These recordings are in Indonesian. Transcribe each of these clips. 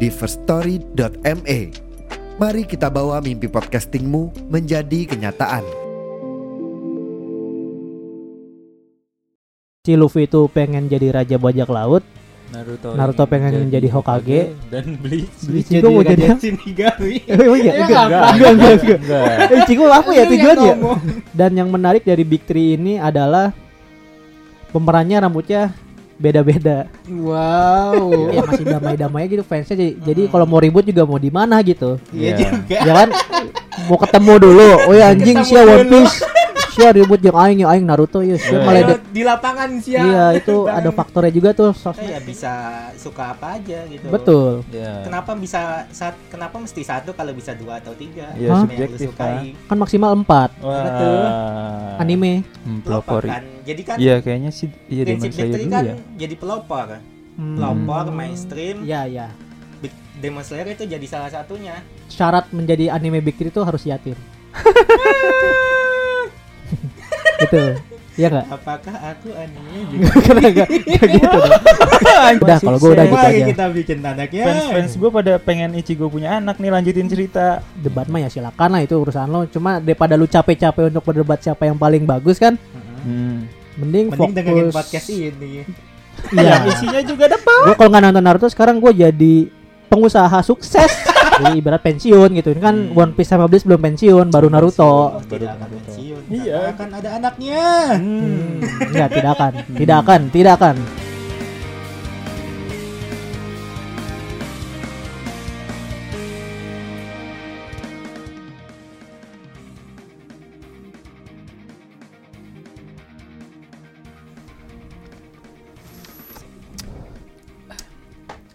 di firststory.me. Mari kita bawa mimpi podcastingmu menjadi kenyataan. si Luffy itu pengen jadi raja bajak laut, Naruto, Naruto pengen jadi Hokage. dan Bleach. Bleach juga mau jadi Raja Shinigami. Emang iya? Enggak, enggak, enggak, enggak. Eh, Cikgu apa ya Lu yang tujuannya? ngomong. Dan yang menarik dari Big Three ini adalah pemerannya rambutnya beda-beda. Wow. Ya masih damai-damai gitu fansnya. Jadi, jadi kalau mau ribut juga mau di mana gitu. Iya Iya. juga. Ya kan? Mau ketemu dulu. Oh ya anjing Ketemu sia One dulu. Piece. Sia ribut yang aing yang aing Naruto ya sia Iya. malah Kalau de- di lapangan siang. Iya, itu ada faktornya juga tuh sosmed. ya bisa suka apa aja gitu. Betul. Ya. Kenapa bisa saat kenapa mesti satu kalau bisa dua atau tiga? Ya, Hah? subjektif, kan. Kan maksimal 4 Betul. Wah. anime. Pelopor. kan. Jadi kan Iya, kayaknya sih iya Demon prinsip Big Slayer Three dulu kan ya. jadi pelopor. Hmm. Pelopor mainstream. Iya, iya. Big Demon Slayer itu jadi salah satunya. syarat menjadi anime big three itu harus yatim. gitu. Iya enggak? Apakah aku anime gitu? Big Karena enggak enggak gitu dong. udah kalau gua udah Three? gitu Mari aja. kita bikin tanda ya. Fans fans Hmm. gue pada pengen Ichigo punya anak nih lanjutin cerita. Debat mah ya silakan lah itu urusan lo. Cuma daripada lu capek-capek untuk berdebat siapa yang paling bagus kan, Hmm. mending, Mending dengerin fokus. podcast Iya. ini. Yang isinya juga dapat. Gua kalau nggak nonton Naruto sekarang gua jadi pengusaha sukses. Jadi ibarat pensiun gitu. Ini kan Hmm. One Piece sama Bleach belum pensiun, baru Naruto. Oh, tidak akan pensiun. Iya. Iya. Akan ada anaknya. Hmm, enggak, tidak akan. Tidak akan, tidak akan.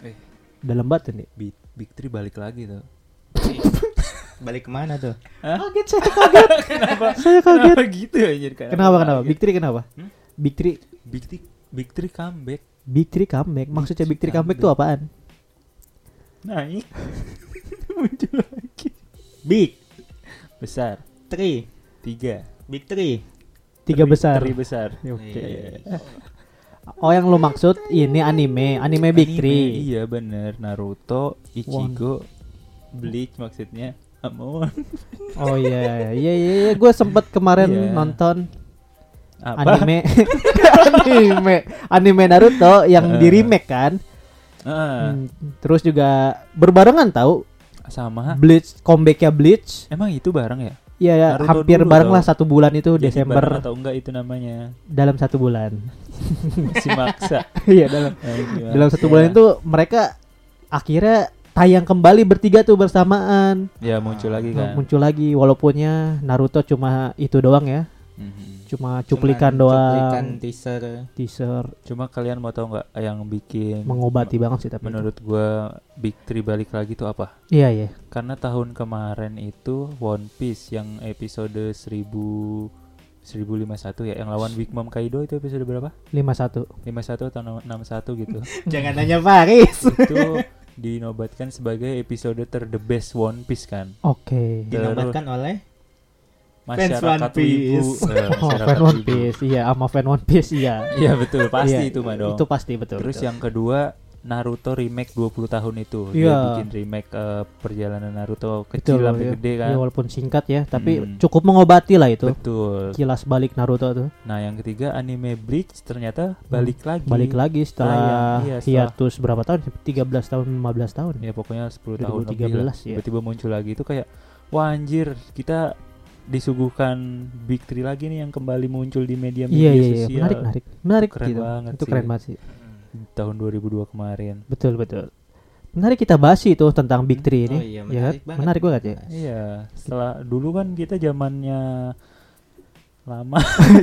Eh. Udah lembat ini. Big, Big Three balik lagi tuh. Balik kemana tuh? Kaget saya kaget. Kenapa? Saya kaget. Kenapa gitu ya, aja? Kenapa kenapa? Hmm? Big Three kenapa? Big Three Big Three Big Three comeback Big Three comeback. Maksudnya Big Three comeback itu apaan? Nah, naik muncul lagi Big besar Three. tiga Big Three. Tiga besar. Three besar. Oke. Iya. Oh yang lu maksud ini anime, anime Big Anime, Three. Iya bener Naruto, Ichigo, Bleach maksudnya. Amon. Oh iya iya iya iya gue sempet kemarin Iya. nonton Apa? anime anime anime Naruto yang di Eh. remake kan. Ah, Hmm, Terus juga berbarengan tahu sama. Bleach comebacknya Bleach. Emang itu bareng ya? Iya ya, Naruto hampir dulu bareng tau. lah satu bulan itu Jadi Desember bareng atau enggak itu namanya? dalam satu bulan. Masih maksa. Eh, Iya. Iya dalam dalam satu bulan itu mereka akhirnya tayang kembali bertiga tuh bersamaan ya muncul lagi Iya, kan. muncul lagi walaupunnya Naruto cuma itu doang ya Mhm. cuma cuplikan Cuman doang Cuplikan teaser. teaser Cuma kalian mau tahu nggak yang bikin mengobati banget sih tapi menurut gua Big Three balik lagi tuh apa? iya iya Karena tahun kemarin itu One Piece yang episode 1000 1051 ya yang lawan Big Mom Kaido itu episode berapa? lima satu 51 atau 61 gitu. Jangan nanya Paris. itu dinobatkan sebagai episode ter the best One Piece kan. oke Terus Dinobatkan oleh masyarakat One Piece. wibu, eh, oh, masyarakat fan One wibu. Piece iya sama fan One Piece iya Iya betul, pasti Iya, itu mah dong. itu pasti betul Terus betul. yang kedua Naruto remake 20 tahun itu. Dia Iya. bikin remake eh, perjalanan Naruto Betul, kecil sampai iya. gede kan. Iya, walaupun singkat ya tapi Hmm. cukup mengobati lah itu Betul. kilas balik Naruto tuh Nah, yang ketiga anime Bleach ternyata balik lagi. Hmm, balik lagi setelah Tayang, iya, setelah- hiatus berapa tahun 13 tahun 15 tahun Ya pokoknya 10 tahun 2013 lebih lah. ya. Tiba-tiba muncul lagi itu kayak wah anjir, kita disuguhkan Big Three lagi nih yang kembali muncul di iya media-media iya iya sosial. menarik menarik menarik Keren gitu banget itu sih. keren banget sih Tahun 2002 kemarin. betul betul menarik kita bahas sih itu tentang big three ini Oh iya, ya menarik kan? banget. menarik banget ya Iya, setelah dulu kan kita zamannya lama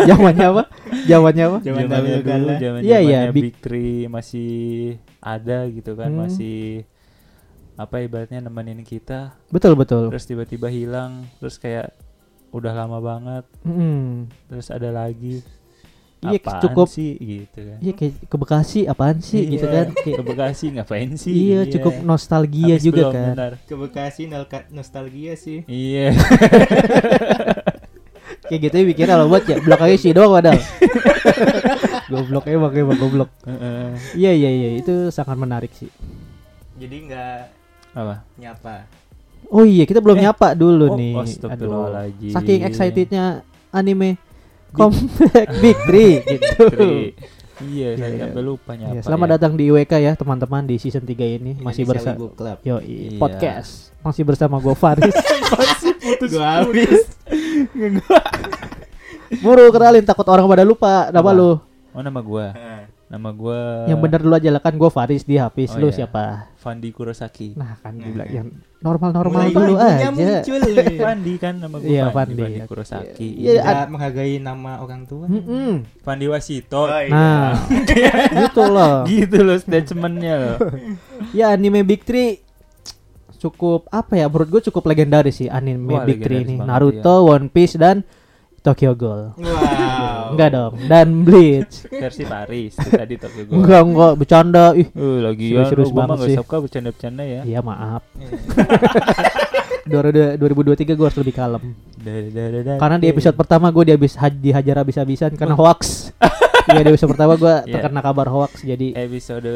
jamannya apa jamannya apa Zaman Zamannya dahulu kala. zaman kan Iya, iya, zamannya Big- Big Three masih ada gitu kan, Hmm. masih apa ibaratnya nemenin kita Betul betul. terus tiba-tiba hilang terus kayak udah lama banget Mm-mm. terus ada lagi Iya, apaan cukup. sih gitu kan Iya kayak ke Bekasi apaan sih gitu Iya, kan. Kayak, ke Bekasi ngapain sih iya cukup nostalgia Habis juga belum, kan. bentar. Ke Bekasi nalka- nostalgia sih. iya Kayak gitu ya bikinnya lo buat ya. Bloknya sih doang padahal. goblok emang emang goblok. Heeh. Iya iya iya itu sangat menarik sih. Jadi nggak apa nyapa. Oh iya kita belum Eh, nyapa dulu oh, nih. astagfirullahaladzim. Saking excitednya anime Compact Big Three gitu. Tri. iya saya Iya. sampai lupa nyapa Ya, selamat ya. datang di IWK ya teman-teman di season 3 ini masih Ya. Indonesia bersama Wibu Club. Yo, Iya. podcast masih bersama gue Faris. Gua habis. Buru kenalin takut orang pada lupa nama Apa? lu. oh nama gua Heeh. nama gua Yang benar dulu aja lah kan gue Faris dia Hafiz Oh lu iya. siapa? Fandi Kurosaki Nah kan Nah. dibilang yang normal-normal Mulai dulu ibunya aja. Muncul. Fandi kan nama gua Iya, Fandi. Fandi Kurosaki Iya, Tidak ad- menghargai nama orang tua. Mm-mm. Fandi Wasito Nah, gitu loh. gitu loh statementnya loh Ya anime Big Three cukup apa ya menurut gue cukup legendaris sih anime Wah, Big Three legendaris ini banget, iya. Naruto, One Piece dan Tokyo Ghoul. Wow. Enggak dong. Dan Bleach. versi Paris itu tadi Tokyo Ghoul Enggak enggak bercanda. Ih, Eh, lagi ya, Serius-serius lu gua mah banget gak sih. suka bercanda-bercanda ya. iya maaf. Iya. 2023 gue harus lebih kalem. Da-da-da-da-da. Karena di episode pertama gue dihabis haj- dihajar habis-habisan karena hoax. Iya di episode pertama gue Iya. Eh, terkena kabar hoax jadi episode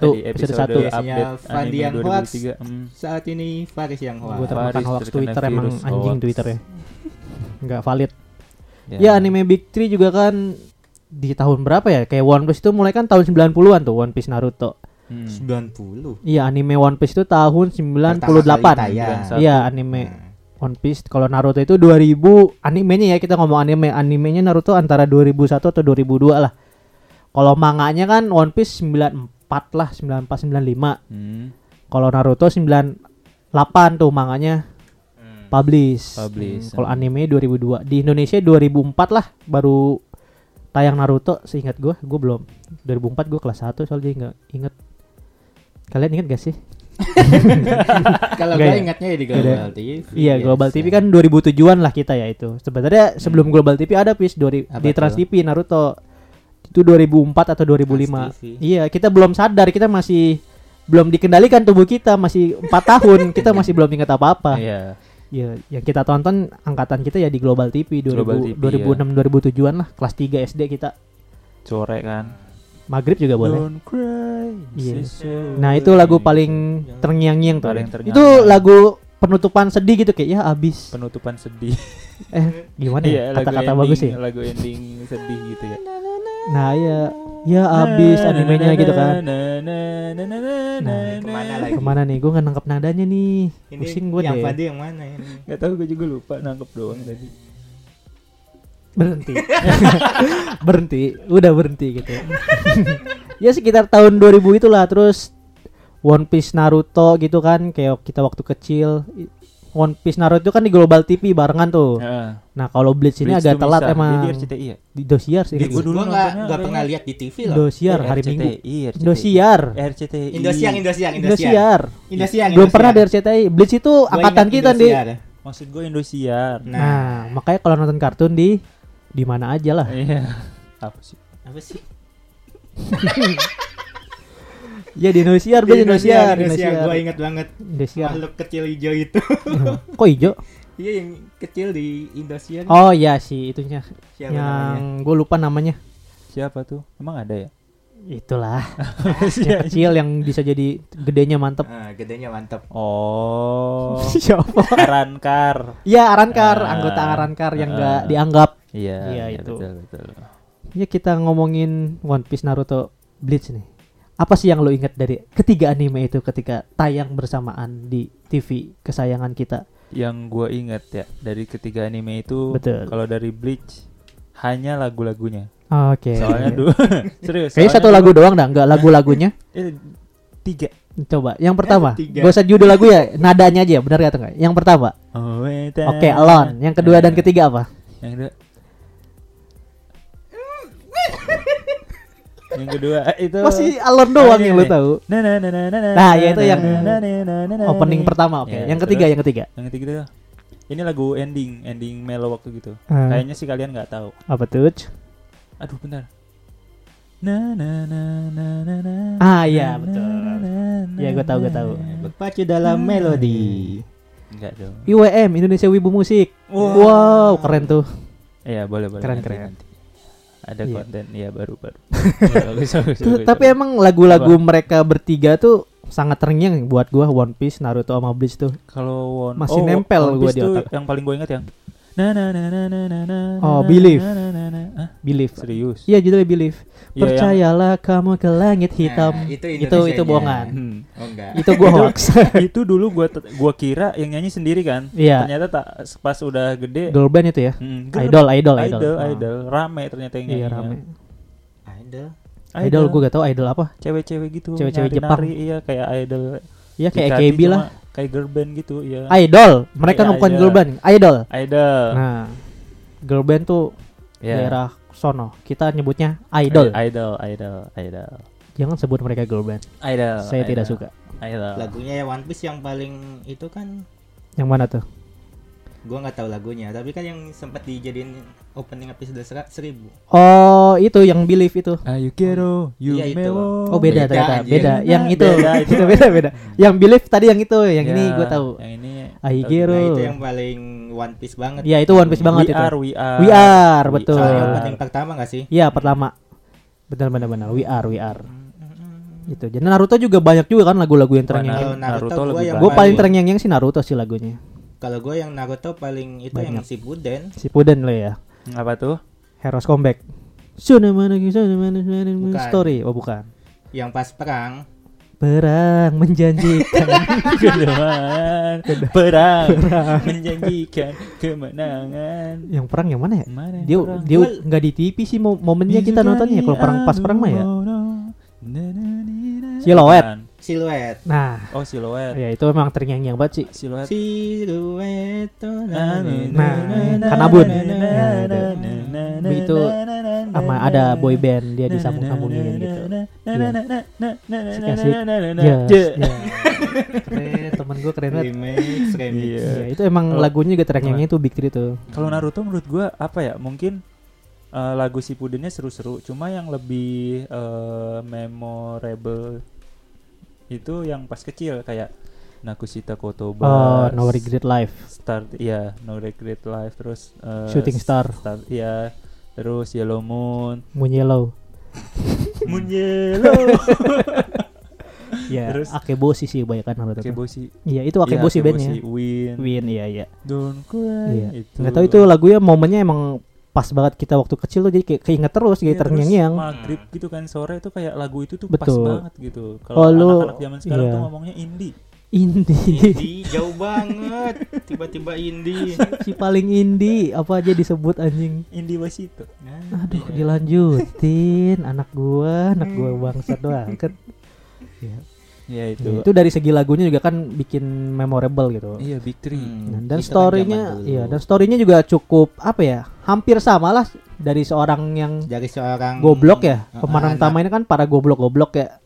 Satu, tadi? episode Episode satu. update Biasanya Fandi yang anime hoax. 2023. Hmm. Saat ini Faris yang gue hoax. ter- termakan Faris hoax terkena Twitter emang virus anjing hoax. Twitter ya. Enggak valid. Ya anime Big Three juga kan di tahun berapa ya? Kayak One Piece itu mulai kan tahun 90-an tuh One Piece Naruto. Hmm. 90. Iya anime One Piece itu tahun 98. tayang. Iya anime Hmm. Nah. One Piece kalau Naruto itu 2000 animenya ya kita ngomong anime animenya Naruto antara 2001 atau 2002 lah kalau manganya kan One Piece 94 lah 94 95 Hmm. kalau Naruto 98 tuh manganya Hmm. publish, Publish. kalau anime 2002 di Indonesia 2004 lah baru tayang Naruto seingat gua gua belum 2004 gua kelas 1 soalnya nggak inget kalian inget gak sih Kalau Enggak gue ya? ingatnya ya di Global TV. Iya, biasa. Global TV kan 2007-an lah kita ya itu. Sebenarnya sebelum Global TV ada pis di Apa tuh? Trans TV Naruto itu 2004 atau 2005. Trans TV. Iya, kita belum sadar, kita masih belum dikendalikan tubuh kita, masih 4 tahun, kita masih belum ingat apa-apa. Iya. Iya, yang kita tonton angkatan kita ya di Global TV 2000, Global TV, 2006 2007-an lah, kelas 3 SD kita. Corek kan. Maghrib juga boleh. Don't cry. Iya. it's so- Nah, itu lagu paling terngiang-ngiang tuh. Paling terngiang. Itu lagu penutupan sedih gitu kayak ya abis penutupan sedih. eh gimana ya Iya, lagu kata-kata ending- bagus ya Lagu ending sedih gitu ya. Nah ya Ya abis animenya gitu kan Kemana Nah, lagi? Kemana nih gue gak nangkep nadanya nih Ini Pusing gue yang deh Fandi yang mana ini? Gak tau gue juga lupa nangkep doang tadi. Berhenti Berhenti Udah berhenti gitu Ya sekitar tahun 2000 itulah Terus One Piece Naruto gitu kan Kayak kita waktu kecil One Piece Naruto kan di Global TV barengan tuh Nah, Nah kalau Bleach ini Bridge agak to telat Misa. emang Dia di RCTI ya? Di dosiar sih Di- Gua dulu Gue nggak nontonnya nggak ya? apa pernah ini? lihat di TV loh. Dosiar hari RCTI, Minggu RCTI. Eh, Dosiar RCTI. Indosiar, Indosiar, Indosiar Indosiar. Indosiar. belum pernah Indosiar. dari RCTI Blitz itu Iya, Gua angkatan ingat kita nih Indosiar. Maksud gue Indosiar. Nah, nah makanya kalau nonton kartun di di mana aja lah Iya. Apa sih? apa sih? ya di Indosiar gue di Indosiar di Indosiar. Gue Indosiar ingat banget Indosiar makhluk kecil hijau itu. kok hijau Iya yang kecil di Indosiar. oh ya si itunya Siapa namanya? yang gue lupa namanya Siapa tuh? Emang ada ya? itulah yang kecil yang bisa jadi gedenya mantep Ah, gedenya mantap. Oh. siapa Arankar. ya Arankar Ah. anggota Arankar yang Ah. gak dianggap Iya, Iya, iya, itu. betul, betul. ya kita ngomongin One Piece Naruto Bleach nih apa sih yang lo ingat dari ketiga anime itu ketika tayang bersamaan di TV kesayangan kita Yang gue ingat ya dari ketiga anime itu Betul. kalau dari Bleach hanya lagu-lagunya. Oke. Soalnya dulu Iya, serius. Kayaknya satu soalnya lagu doang dah, enggak lagu-lagunya. dulu- eh, tiga. Coba, yang Eh, pertama. tiga. Gak usah judul lagu ya, nadanya aja, benar atau enggak? Yang pertama. Oke, Alone. Yang kedua Eh. dan ketiga apa? Yang kedua. yang kedua itu Masih alon doang yang lu tahu. Nah, nah, nah, nah, nah, nah, Nah, ya itu yang nah, nah, nah, nah, nah, Opening nah. pertama, oke. Ya, Yang ketiga, terus yang ketiga. yang ketiga itu ini lagu ending ending melo waktu gitu Hmm. kayaknya sih kalian nggak tahu Apa tuh? Uj? aduh bentar na na na na na na Ah, iya, betul. Ya, ya gua tahu, gua tahu. Iya, Berpacu dalam melodi. enggak dong IWM Indonesia Wibu Musik. Wow, keren tuh. Iya boleh boleh. Keren, nanti, keren. nanti. Ada Iya. konten ya baru baru. Ya, bagus, bagus, Tuh, bagus, tapi bagus. emang lagu-lagu mereka bertiga tuh sangat terngiang buat gua One Piece, Naruto sama Bleach tuh. kalau One masih nempel One gua Piece di tuh otak. Yang paling gue ingat yang na na na na na na na Oh, na, Believe. na, na, na, na. Hah? Believe. serius. Iya judulnya Believe. Iya, yang- Percayalah kamu ke langit hitam. Nah, itu itu itu Indonesianya. bohongan. Hmm. Oh enggak. itu gua hoax. itu dulu gua te- gua kira yang nyanyi sendiri kan. Iya. Ternyata tak pas udah gede Idol band itu ya. Hmm, gede. Idol, idol, idol. idol, Ah. idol. rame ternyata yang Iya nyanyi. rame. Idol. Idol gua gak tau idol apa. cewek-cewek gitu Cewek-cewek nari-nari, iya kayak idol Ya kayak Dikati AKB cuma lah. kayak girl band gitu iya Idol. Mereka Iya, nggak bukan idol. girl band, idol. idol Nah, girl band tuh Iya. daerah sono. Kita nyebutnya idol. idol idol idol Jangan sebut mereka girl band. idol Saya tidak suka. idol, idol Lagunya ya, One Piece yang paling itu kan Yang mana tuh? gua nggak tahu lagunya, tapi kan yang sempat dijadiin opening episode sera- seribu Oh, itu yang believe Oh, itu. Ayukero, Iya, itu. Yumeo. Oh, beda beda ternyata. anjir. Beda. Yang itu. Beda, itu. Itu beda beda. Yang believe tadi yang itu, yang ini Ya, gue tahu. Yang ini Aigero. Nah, itu Betul. yang paling One Piece banget. Ya, itu One Piece banget we itu. Are, we are. We are, betul. Soalnya Betul. opening pertama nggak sih? Iya, pertama. Benar benar benar. We are, we are. Itu. Jadi Naruto juga banyak juga kan lagu-lagu yang terngiang. Kalau Naruto, Naruto gua lebih yang Gue paling terngiang sih Naruto sih lagunya. Kalau gua yang Naruto paling itu yang si Buden. Si Puden lo ya. Apa tuh? Heroes Comeback. Sudah mana kisah mana mana Bukan. story. Oh bukan. yang pas perang Perang menjanjikan. Kedeman, perang menjanjikan kemenangan. yang perang yang mana ya? Mana yang Dia perang? dia nggak di TV sih mo- momennya kita nontonnya kalau perang pas perang mah ya. oh. Siluet. Bukan. siluet. Nah, Oh siluet. ya itu memang terngiang-ngiang banget sih. Siluet. Siluet. Anu. tuh, na- na- Nah, Kanabun. Nah, itu Sama Nah, ada boy band dia disambung-sambungin gitu. Iya. Si kasih. Yes, yes. Keren, temen gue keren banget. Remix, remix. Iya. Ya, itu emang Kalau- lagunya juga terngiangnya itu Big Three tuh. Kalau Naruto menurut gua apa ya? Mungkin eh, lagu Shippudennya seru-seru, cuma yang lebih eh, memorable itu yang pas kecil kayak Nakushita Kotoba. Oh, No Regret Life. Start ya, No Regret Life terus eh, Shooting Star. Hmm. Start ya. Terus Yellow Moon, Moon Yellow. Moon Yellow. Ya, Terus- Akeboshi sih banyak kan Naruto. tuh. Akeboshi. Iya, itu Akeboshi Iya, bandnya. Win. Win, iya iya. Don't cry. Iya. Nggak tahu itu lagunya momennya emang pas banget kita waktu kecil tuh jadi kayak keinget terus Iya, jadi terngiang-ngiang. terus Maghrib gitu kan sore itu kayak lagu itu tuh pas Betul. banget gitu. Kalau Oh, lu- anak-anak zaman sekarang iya. tuh ngomongnya indie. Indie. Indie jauh banget. Tiba-tiba indie. si paling indie apa aja disebut anjing. Indie wasito. Aduh, dilanjutin anak gua, anak gua bangsat doang kan. Iya. Ya itu. Iya, Itu dari segi lagunya juga kan bikin memorable gitu. Iya Big Hmm, Three. kan Nah, dan storynya, iya, dan storynya juga cukup apa ya, hampir sama lah dari seorang yang dari seorang goblok ya. Pemeran anak- utama ini kan para goblok-goblok ya,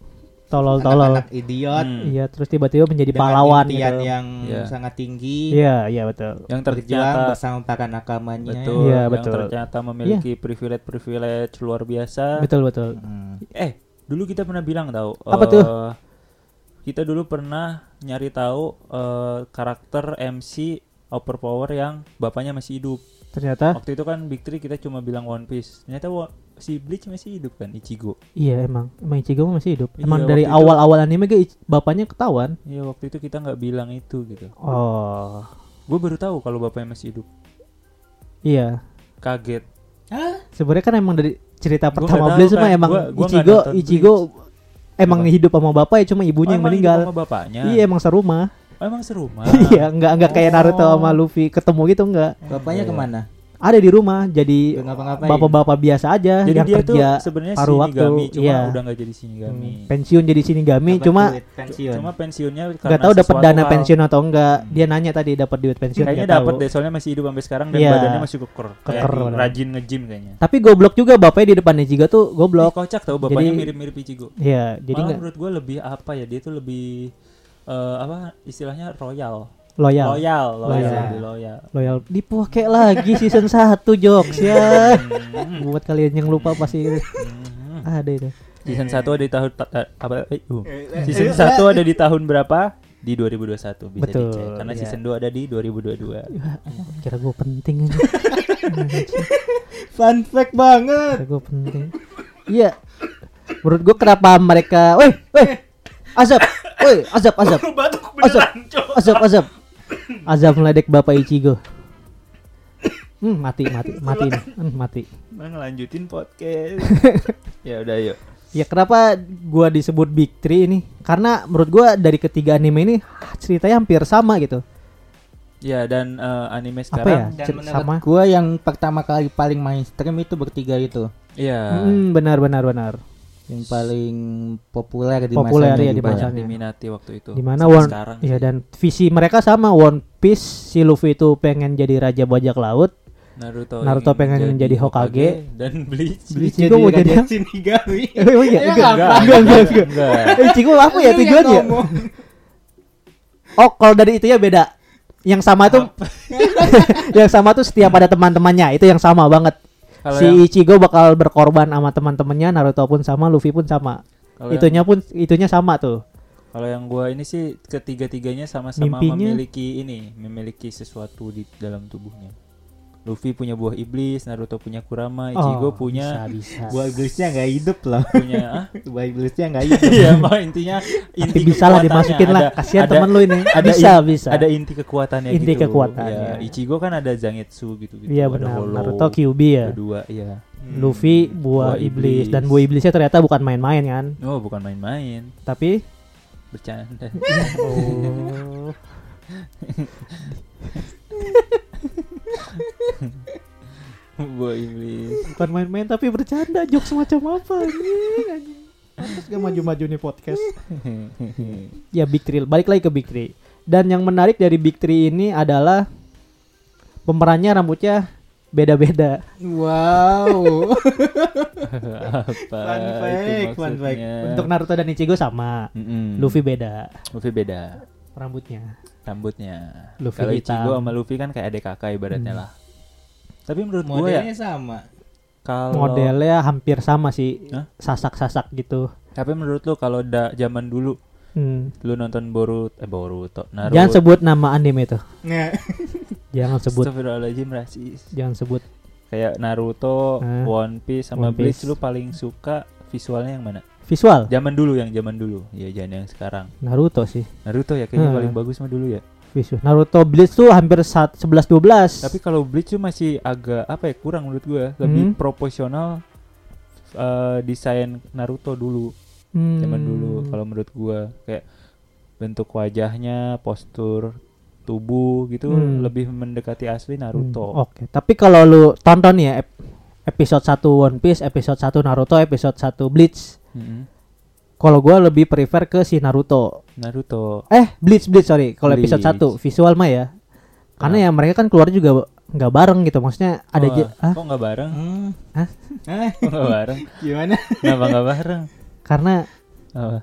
tolol-tolol. anak-anak idiot Hmm. Iya, terus tiba-tiba menjadi dengan pahlawan impian gitu. yang Iya. sangat tinggi Iya, iya betul. Yang berjuang ternyata bersama para nakamanya betul. Iya, yang betul. ternyata memiliki privilege-privilege luar biasa. Betul betul. Hmm. Eh, dulu kita pernah bilang tahu. Apa eh, tuh? Kita dulu pernah nyari tahu eh, karakter MC overpower yang bapaknya masih hidup. Ternyata Waktu itu kan Big Three kita cuma bilang One Piece. Ternyata wa- si Bleach masih hidup kan Ichigo. iya emang emang Ichigo masih hidup. Emang Iya, dari waktu itu- awal-awal anime ke Ich- bapaknya ketahuan. Iya waktu itu kita nggak bilang itu gitu. Oh. Gue baru tahu kalau bapaknya masih hidup. Iya. Kaget. Hah? Sebenarnya kan emang dari cerita Gua nggak pertama tahu Bleach kan, mah emang gua- gua nggak Ichigo nonton Ichigo emang Apa? hidup sama bapak ya cuma Oh, ibunya yang emang meninggal. hidup sama bapaknya. Iya emang serumah. Oh, emang serumah. Iya, enggak enggak kayak Naruto Oh. sama Luffy ketemu gitu enggak. Iya. bapaknya kemana ada di rumah jadi Nggak ngapa-ngapain. bapak-bapak biasa aja Jadi yang dia tuh kerja sebenarnya paruh sinigami, waktu, cuma iya. udah nggak jadi sinigami. pensiun jadi sinigami Apa cuma duit pensiun. Cuma pensiunnya karena nggak tahu dapat sesuatu dana hal. Hmm. pensiun atau enggak dia nanya tadi dapat duit pensiun Kayaknya nggak dapat tahu. deh, soalnya masih hidup sampai sekarang dan Iya. badannya masih keker. Kayak Keker, bener. rajin nge-gym kayaknya. tapi goblok juga bapaknya di depannya juga tuh Ih, goblok kocak tau bapaknya Jadi- mirip-mirip Ichigo. Iya, jadi Malah nggak menurut gue lebih apa ya, dia tuh lebih eh, apa istilahnya royal. loyal Loyal, loyal, Iya. Loyal. lebih loyal. loyal dipakai lagi season 1 jokes ya Hmm. buat kalian yang lupa pasti ada itu Season Eh. 1 ada di tahun ta- ta- apa eh, uh. Season 1 ada di tahun berapa? Di 2021 bisa Betul, dicek. Karena iya. season 2 ada di 2022. kira gue penting aja Fun fact banget. kira gue penting iya menurut gue kenapa mereka weh weh azab weh azab azab azab azab azab azab meledek bapak Ichigo hmm mati mati mati nih hmm, mati Mau Nah, ngelanjutin podcast. ya udah yuk. Ya kenapa gua disebut Big Three ini? Karena menurut gua dari ketiga anime ini ceritanya hampir sama gitu. Ya dan eh, Apa ya? anime sekarang Cer- Dan menurut sama. gua yang pertama kali paling mainstream itu bertiga itu. Iya. Hmm, benar benar benar. Yang paling populer di Populer masanya ya di juga. masa- banyak Misalnya. diminati waktu itu. Dimana Sampai One sekarang. ya dan visi mereka sama One Piece si Luffy itu pengen jadi raja bajak laut. Naruto, Naruto ingin pengen jadi Hokage. dan Bleach. Ichigo mau jadi Raja Shinigami. Oh iya, Ya, enggak. apa? Enggak, enggak, enggak. Enggak. Eh, Ichigo apa ya Lu yang tujuannya? Iya, ngomong. Oh, kalau dari itu ya beda. Yang sama tuh yang sama tuh setiap ada teman-temannya, itu yang sama banget. Kalau si yang- Ichigo bakal berkorban sama teman-temannya, Naruto pun sama, Luffy pun sama. Kalau yang, itunya pun itunya sama tuh. kalau yang gua ini sih ketiga-tiganya sama-sama Mimpinya? memiliki ini, memiliki sesuatu di dalam tubuhnya. Luffy punya buah iblis, Naruto punya Kurama, Nah, Oh, Ichigo punya bisa, bisa. Buah iblisnya nggak hidup loh. punya ah? Buah iblisnya nggak hidup. Iya, mah intinya Tapi inti bisa lah kekuatannya. dimasukin lah. Ada- Kasihan ada- temen lu ini. ada bisa, in- bisa. Ada inti kekuatannya Inti gitu. kekuatannya. Ya, Ichigo kan ada Zangetsu gitu-gitu. Iya ada benar. Hollow, Naruto Kyuubi ya. Kedua, iya. Luffy buah Buah iblis. iblis. dan buah iblisnya ternyata bukan main-main kan. Oh, bukan main-main. Tapi Bercanda. oh. buah iblis. bukan main-main tapi bercanda jokes macam apa anjing anjing. Pantes gak maju-maju nih podcast. ya Big Three. Balik lagi ke Big Three. Dan yang menarik dari Big Three ini adalah pemerannya rambutnya beda-beda. Wow. Apa Fun fact, itu fun fact. maksudnya? Untuk Naruto dan Ichigo sama. Mm-mm. Luffy beda Luffy beda rambutnya. rambutnya. Luffy Kalau hitam. Hmm. Ichigo sama Luffy kan kayak adik kakak ibaratnya lah. Tapi menurut gue ya Modelnya sama. kalau Modelnya hampir sama sih. Hah? Sasak-sasak gitu. tapi menurut lu kalau da zaman dulu Hmm. lu nonton Boruto eh Boruto Naruto Jangan sebut nama anime itu. Nah, Jangan sebut. Astagfirullahaladzim, rasis. Jangan sebut. Kayak Naruto, Hah? One Piece Eh, One sama Piece. Bleach lu paling suka visualnya yang mana? Visual Zaman dulu yang zaman dulu, ya jangan yang sekarang. Naruto sih. Naruto ya kayaknya Hmm. paling bagus mah dulu ya. Visual Naruto Bleach tuh hampir saat 11 12. Tapi kalau Bleach tuh masih agak apa ya kurang menurut gua, lebih Hmm. proporsional eh, desain Naruto dulu, Hmm. zaman dulu kalau menurut gua kayak bentuk wajahnya, postur tubuh gitu Hmm. lebih mendekati asli Hmm, Naruto. Oke, tapi kalau lu tonton ya ep- episode 1 One Piece, episode 1 Naruto, episode 1 Bleach. Mm-mm. Kalau gua lebih prefer ke si Naruto. Naruto. Eh, Bleach Bleach sorry. Kalau Bleach. episode 1 visual mah ya. Karena ya mereka kan keluar juga nggak bareng gitu. Maksudnya ada Wah, je- Hah? Oh, ah. kok nggak bareng? hmm. Hah? Eh, Kok nggak bareng? gimana? Kenapa nggak bareng? karena Oh. Apa?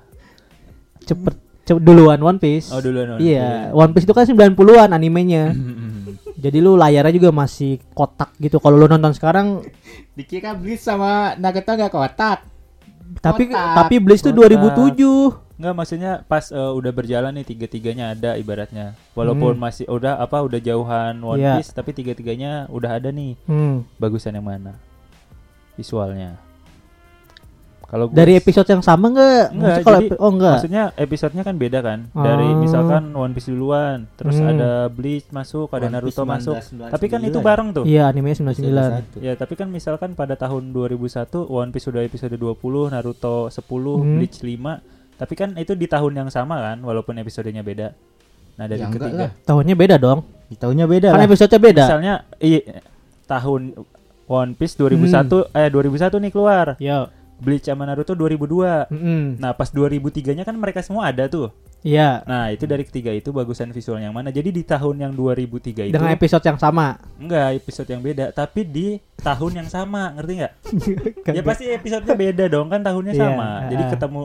cepet ce- duluan One Piece. Oh duluan. One Iya, One Piece itu kan 90-an animenya. Piece. Mm-mm. Jadi lu layarnya juga masih kotak gitu. Kalau lu nonton sekarang Dikira Blitz sama Nagato nggak kotak. tapi Kotak. tapi Bleach tuh Kotak. 2007. Nggak maksudnya pas eh, udah berjalan nih tiga-tiganya ada ibaratnya. Walaupun masih udah apa udah jauhan Hmm. One Iya. Piece tapi tiga-tiganya udah ada nih. Hmm. Bagusan yang mana? Visualnya. Kalau gua- Dari episode yang sama nggak? Nggak, Maksudnya kalau jadi epi- oh enggak. Maksudnya episodenya kan beda kan. Dari Ah. misalkan One Piece duluan, terus Hmm. ada Bleach masuk, ada One Naruto Piece masuk. 1999 Tapi kan itu ya? bareng tuh. Iya, anime 99. Ya, tapi kan misalkan pada tahun 2001 One Piece sudah episode 20, Naruto 10, Hmm. Bleach 5. Tapi kan itu di tahun yang sama kan, walaupun episodenya beda. Nah, dari Ya, enggak ketiga. lah. Tahunnya beda dong. Di tahunnya beda Kan lah. episodenya beda. Misalnya i- tahun One Piece Hmm. 2001 eh 2001 nih keluar. Yo. Bleach sama Naruto 2002. Mm-mm. Nah, pas 2003-nya kan mereka semua ada tuh. Iya. Nah, itu dari ketiga itu bagusan visualnya yang mana. Jadi di tahun yang 2003 itu Dengan episode yang sama. enggak episode yang beda, tapi di tahun yang sama, ngerti nggak? ya pasti episodenya beda dong, kan tahunnya Kan Iya, sama. Jadi ah. ketemu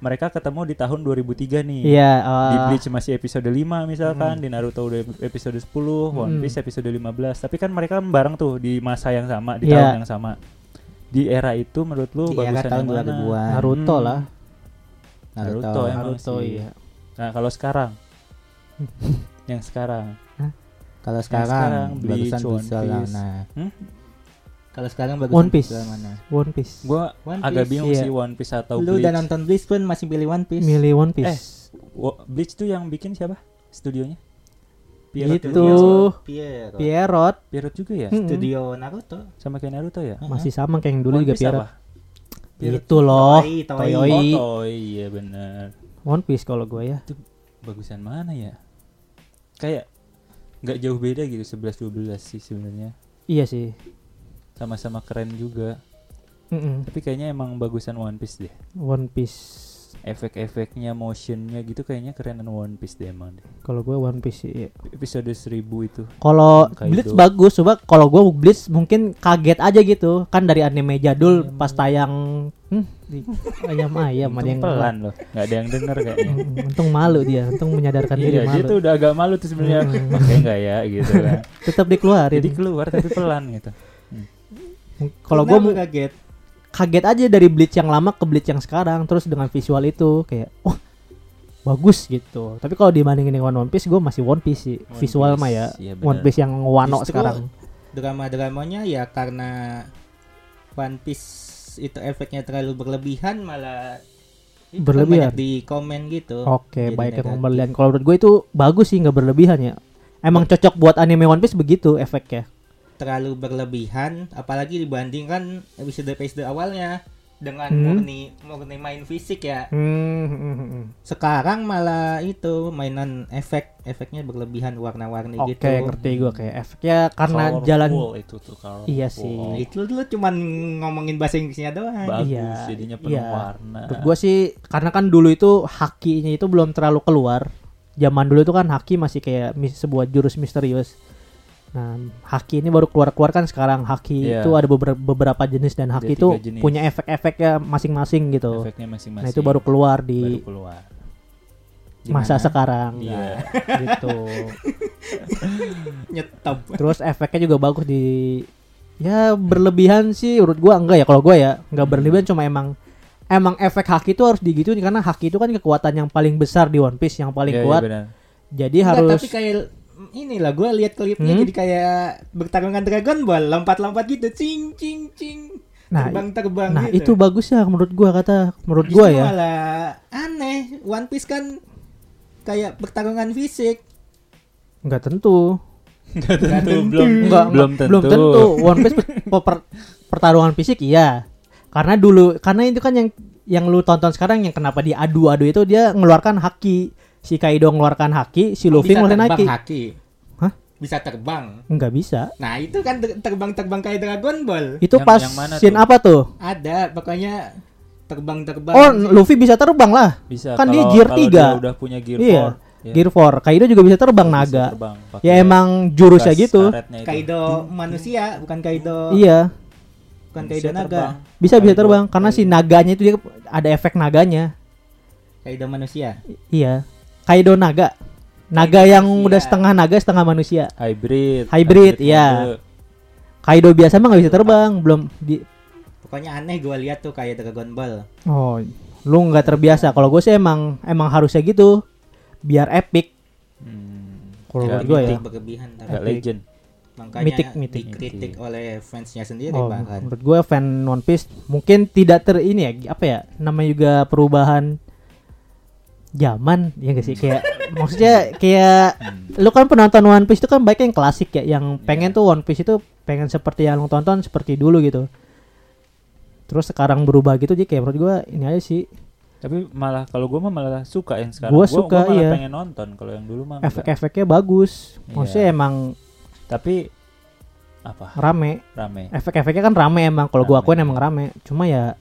mereka ketemu di tahun 2003 nih. Iya. Di eh, Bleach masih episode 5 misalkan, di Naruto udah episode 10, Hmm. One Piece episode 15. Tapi kan mereka bareng tuh di masa yang sama, di Iya. tahun yang sama. Di era itu menurut lu Di era bagusan Iya, tahun yang mana? 2000-an. Naruto Hmm. lah. Naruto. Naruto ya. Naruto sih. iya. Nah, kalau sekarang yang sekarang Nah, Kalau sekarang, sekarang, Bleach, bagusan One visual lah, Piece. nah. Hmm? Kalau sekarang bagusan One Piece. visual mana? One Piece. gua One agak Piece, bingung iya. sih One Piece atau nah. Lu Bleach. udah nonton Bleach pun masih pilih One Piece. Milih One eh, Piece. Wo- Bleach tuh yang bikin siapa? Studionya? Iya, Gitu. Itu. juga. Piero. Pierrot Pierrot juga ya? Hmm. Mm-mm. Studio Naruto. Sama kayak Naruto ya? masih sama kayak yang dulu One juga Piece Pierrot. apa? Pierrot. Itu loh. Toei, Toei. Toei. Oh, oh iya benar. One Piece kalau gue ya. Itu bagusan mana ya? Kayak nggak jauh beda gitu 11 12 sih sebenarnya. Iya sih. Sama-sama keren juga. Mm-mm. Tapi kayaknya emang bagusan One Piece deh. One Piece. Efek-efeknya, motionnya gitu kayaknya kerenan One Piece deh emang deh. Kalau gue One Piece sih. iya. Episode 1000 itu. Kalau Kayak gitu. Blitz itu. bagus, coba kalau gue Blitz mungkin kaget aja gitu. Kan dari anime jadul Anime. pas tayang hmm, di- ayam ayam ada Untung Iya, yang pelan loh. Nggak ada yang denger kayaknya. Mm, untung malu dia, untung menyadarkan diri Iya, dia tuh malu. udah agak malu tuh sebenarnya. Hmm. Pakai enggak ya gitu kan. Tetap dikeluarin. Jadi keluar tapi pelan gitu. Kalau Pernah gue lu kaget. kaget aja dari Bleach yang lama ke Bleach yang sekarang terus dengan visual itu kayak wah bagus gitu. Tapi kalau dibandingin dengan One Piece gue masih One Piece sih. One visual Piece, mah ya. iya benar. One Piece yang wano Justru- sekarang. Drama-dramanya ya karena One Piece itu efeknya terlalu berlebihan malah itu kan Berlebihan? banyak di komen gitu. Oke, Jadi baik yang negatif. pembelian. Kalau menurut gue itu bagus sih, nggak berlebihan ya. Emang cocok buat anime One Piece begitu efeknya. terlalu berlebihan apalagi dibandingkan episode episode awalnya dengan Hmm. murni murni main fisik ya Hmm, sekarang malah itu mainan efek efeknya berlebihan warna-warni oke gitu ngerti gue kayak efeknya karena Colorful jalan itu tuh colorful. Iya sih. Nah, itu lu cuman ngomongin bahasa Inggrisnya doang Bagus Iya, jadinya penuh iya. warna. menurut gue sih karena kan dulu itu hakinya itu belum terlalu keluar. Zaman dulu itu kan haki masih kayak mis- sebuah jurus misterius. Nah, haki ini baru keluar-keluar kan sekarang. Haki Iya. itu ada beber- beberapa jenis dan haki Ada itu tiga jenis. punya efek-efeknya masing-masing gitu. Efeknya Nah, masing-masing. itu baru keluar Baru di keluar. masa Gimana? sekarang Nah, Iya. gitu. nyetop Terus efeknya juga bagus di ya berlebihan sih menurut gua enggak ya kalau gua ya enggak berlebihan cuma emang emang efek haki itu harus digituin karena haki itu kan kekuatan yang paling besar di One Piece yang paling Iya, iya, kuat. benar. jadi Nggak, harus tapi kayak inilah gue lihat klipnya Hmm? jadi kayak bertarungan Dragon Ball lompat-lompat gitu cing cing cing Nah, terbang-terbang nah itu gitu. bagus ya menurut gua kata menurut Justru gua ya. malah aneh One Piece kan kayak pertarungan fisik Enggak tentu. Nggak tentu, belum Enggak belum tentu. belum tentu. One Piece per- per- per- pertarungan fisik iya. Karena dulu karena itu kan yang yang lu tonton sekarang yang kenapa dia adu-adu itu dia ngeluarkan haki. Si Kaido ngeluarkan haki, si Luffy bisa ngeluarin terbang haki. haki. Hah? Bisa terbang. Enggak bisa. Nah, itu kan ter- terbang-terbang kayak Dragon Ball. Itu Yang- pas yang mana scene tuh? apa tuh? Ada pokoknya terbang-terbang. Oh, Luffy bisa terbang lah. Bisa Kan dia kalau- gear kalau tiga. dia udah punya gear Iya. 4. iya, Gear 4. Kaido juga bisa terbang bisa naga. terbang pakai Ya emang jurusnya bekas gitu. karetnya itu. Kaido manusia, bukan Kaido Iya. bukan Bisa Kaido naga. terbang. Bisa bisa Kaido- terbang karena si naganya itu dia ada efek naganya. Kaido manusia. I- Iya. Kaido naga. Naga yang manusia. udah setengah naga, setengah manusia. hybrid. Hybrid, iya. mode. Kaido biasa mah nggak bisa terbang, belum di Pokoknya aneh gua lihat tuh kayak Dragon Ball. Oh, lu nggak terbiasa. Kalau gue sih emang emang harusnya gitu. Biar epic. Hmm. Kalau Nggak menurut gue ya. Mitik berlebihan tapi Nggak legend. makanya Mitik, mitik. Iya. dikritik oleh fansnya sendiri Oh, bahkan. menurut gue fan One Piece mungkin tidak ter ini ya apa ya namanya juga perubahan zaman ya gak sih kayak maksudnya kayak lu kan penonton One Piece itu kan baik yang klasik ya yang pengen tuh One Piece itu pengen seperti yang lu tonton seperti dulu gitu terus sekarang berubah gitu jadi kayak menurut gue ini aja sih Tapi malah kalau gue mah malah suka yang sekarang. Gua Gue suka, malah iya. pengen nonton kalau yang dulu mah. enggak. efek-efeknya bagus maksudnya Iya. emang Tapi apa rame rame efek-efeknya kan rame emang kalau gua Rame. akuin emang rame cuma ya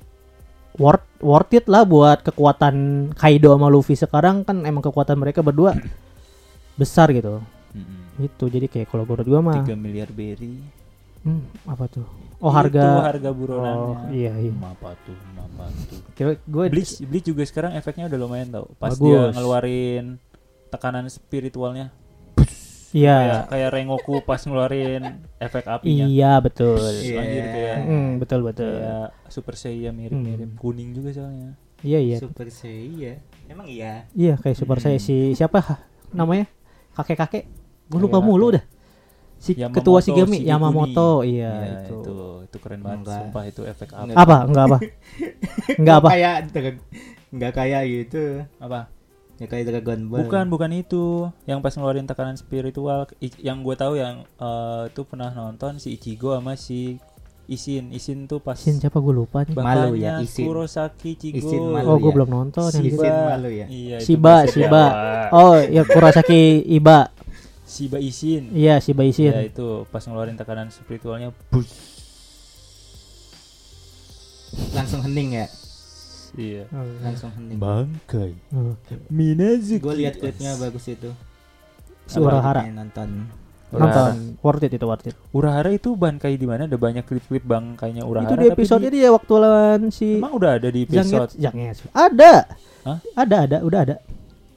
worth worth it lah buat kekuatan Kaido sama Luffy sekarang kan emang kekuatan mereka berdua besar gitu Mm-mm. itu jadi kayak kalau menurut gua mah tiga miliar berry hmm, apa tuh oh Itu harga harga buronannya Oh, iya, iya. Hmm, apa tuh hmm, apa tuh kira gue Bleach Bleach juga sekarang efeknya udah lumayan tau pas Bagus. dia ngeluarin tekanan spiritualnya iya kayak kayak Rengoku pas ngeluarin efek apinya iya betul Terus anjir kayak Hmm, betul betul kayak Super Saiyan mirip-mirip Hmm. kuning juga soalnya iya iya Super Saiyan. Emang iya. iya kayak super saya si siapa namanya kakek kakek gue lupa Kakek-kakek. mulu dah si ketua Shigami Shigekuni. Yamamoto iya itu. itu itu keren banget Enggak. sumpah itu efek apa apa enggak apa enggak apa Kayak Dra- nggak kayak gitu. apa Ya kayak Dragon Ball. bukan bukan itu yang pas ngeluarin tekanan spiritual I- yang gue tahu yang eh, itu pernah nonton si Ichigo sama si Isin Isin tuh pas Sin siapa gue lupa nih bapaknya Malu ya, Isin. Kurosaki Ichigo Isin oh malu. gue ya. belum nonton yang Shiba. gitu. Isin malu ya? Iya, itu Shiba bahasa Shiba Jawa. oh ya Kurosaki Iba Shiba Isin iya Shiba ya Isin itu pas ngeluarin tekanan spiritualnya bus Langsung hening ya. iya Langsung hening. bangkai Oh, Minazuki Gue lihat klipnya bagus itu. si Urahara Klipnya Nonton. Urahara. nonton worth it itu worth it Urahara itu bangkai di mana ada banyak klip-klip bangkainya Urahara itu di tapi episode ini ya waktu lawan si emang udah ada di Zangetsu episode Zangetsu ada Hah? ada ada udah ada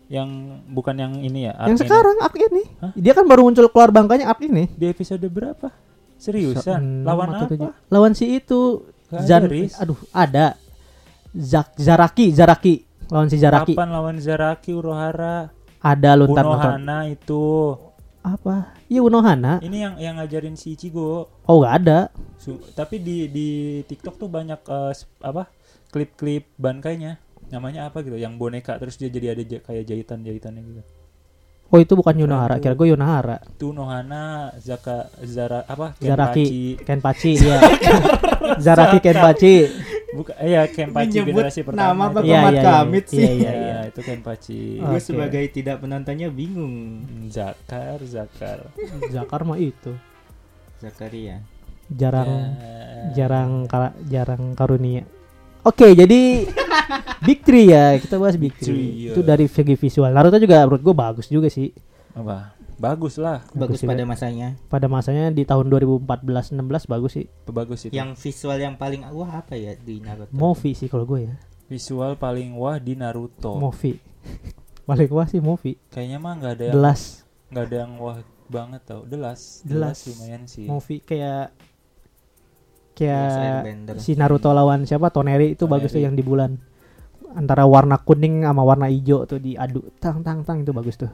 yang bukan yang ini ya yang arc ini. sekarang arc ini Hah? dia kan baru muncul keluar bangkanya arc ini Hmm, di episode berapa seriusan Enam lawan atau apa tujuh. lawan si itu Gak ada, Zan Riz. aduh ada Zak Zaraki Zaraki lawan si Zaraki kapan lawan Zaraki Urahara ada lu ntar nonton Unohana itu apa iya Unohana ini yang yang ngajarin si Ichigo oh nggak ada Su- tapi di di TikTok tuh banyak eh, sp- apa klip-klip bankainya namanya apa gitu yang boneka terus dia jadi ada ja- kayak jahitan-jahitannya gitu oh itu bukan Unohara kira gue Unohara itu Nohana Zaka Zara apa Zaraki Kenpachi iya Zaraki Kenpachi bukan ya Kenpachi Menyebut generasi pertama nama Bapak itu. Iya, Mat iya, iya, Kamit iya, sih. iya, Ya, itu Kenpachi Oke. Gue sebagai tidak penontonnya bingung. Zakar Zakar Iya. Zakar mah itu Zakaria. jarang Ya. jarang kala, jarang karunia Oke, jadi Big Three ya. Kita bahas Big Big Three, Three. iya. Itu dari segi visual. Naruto juga menurut gue bagus juga sih. apa bagus lah Bagus juga. pada masanya. pada masanya di tahun 2014-16 bagus sih bagus itu Yang visual yang paling wah apa ya di Naruto? Movi sih kalau gue ya visual paling wah di Naruto Movi paling wah sih Movi kayaknya mah nggak ada yang jelas nggak ada yang wah banget tau delas Delas. lumayan sih Movi kayak Jelas kayak Airbender. si Naruto lawan siapa Toneri itu bagus tuh Toneri. yang di bulan antara warna kuning sama warna hijau tuh diadu tang tang tang itu bagus tuh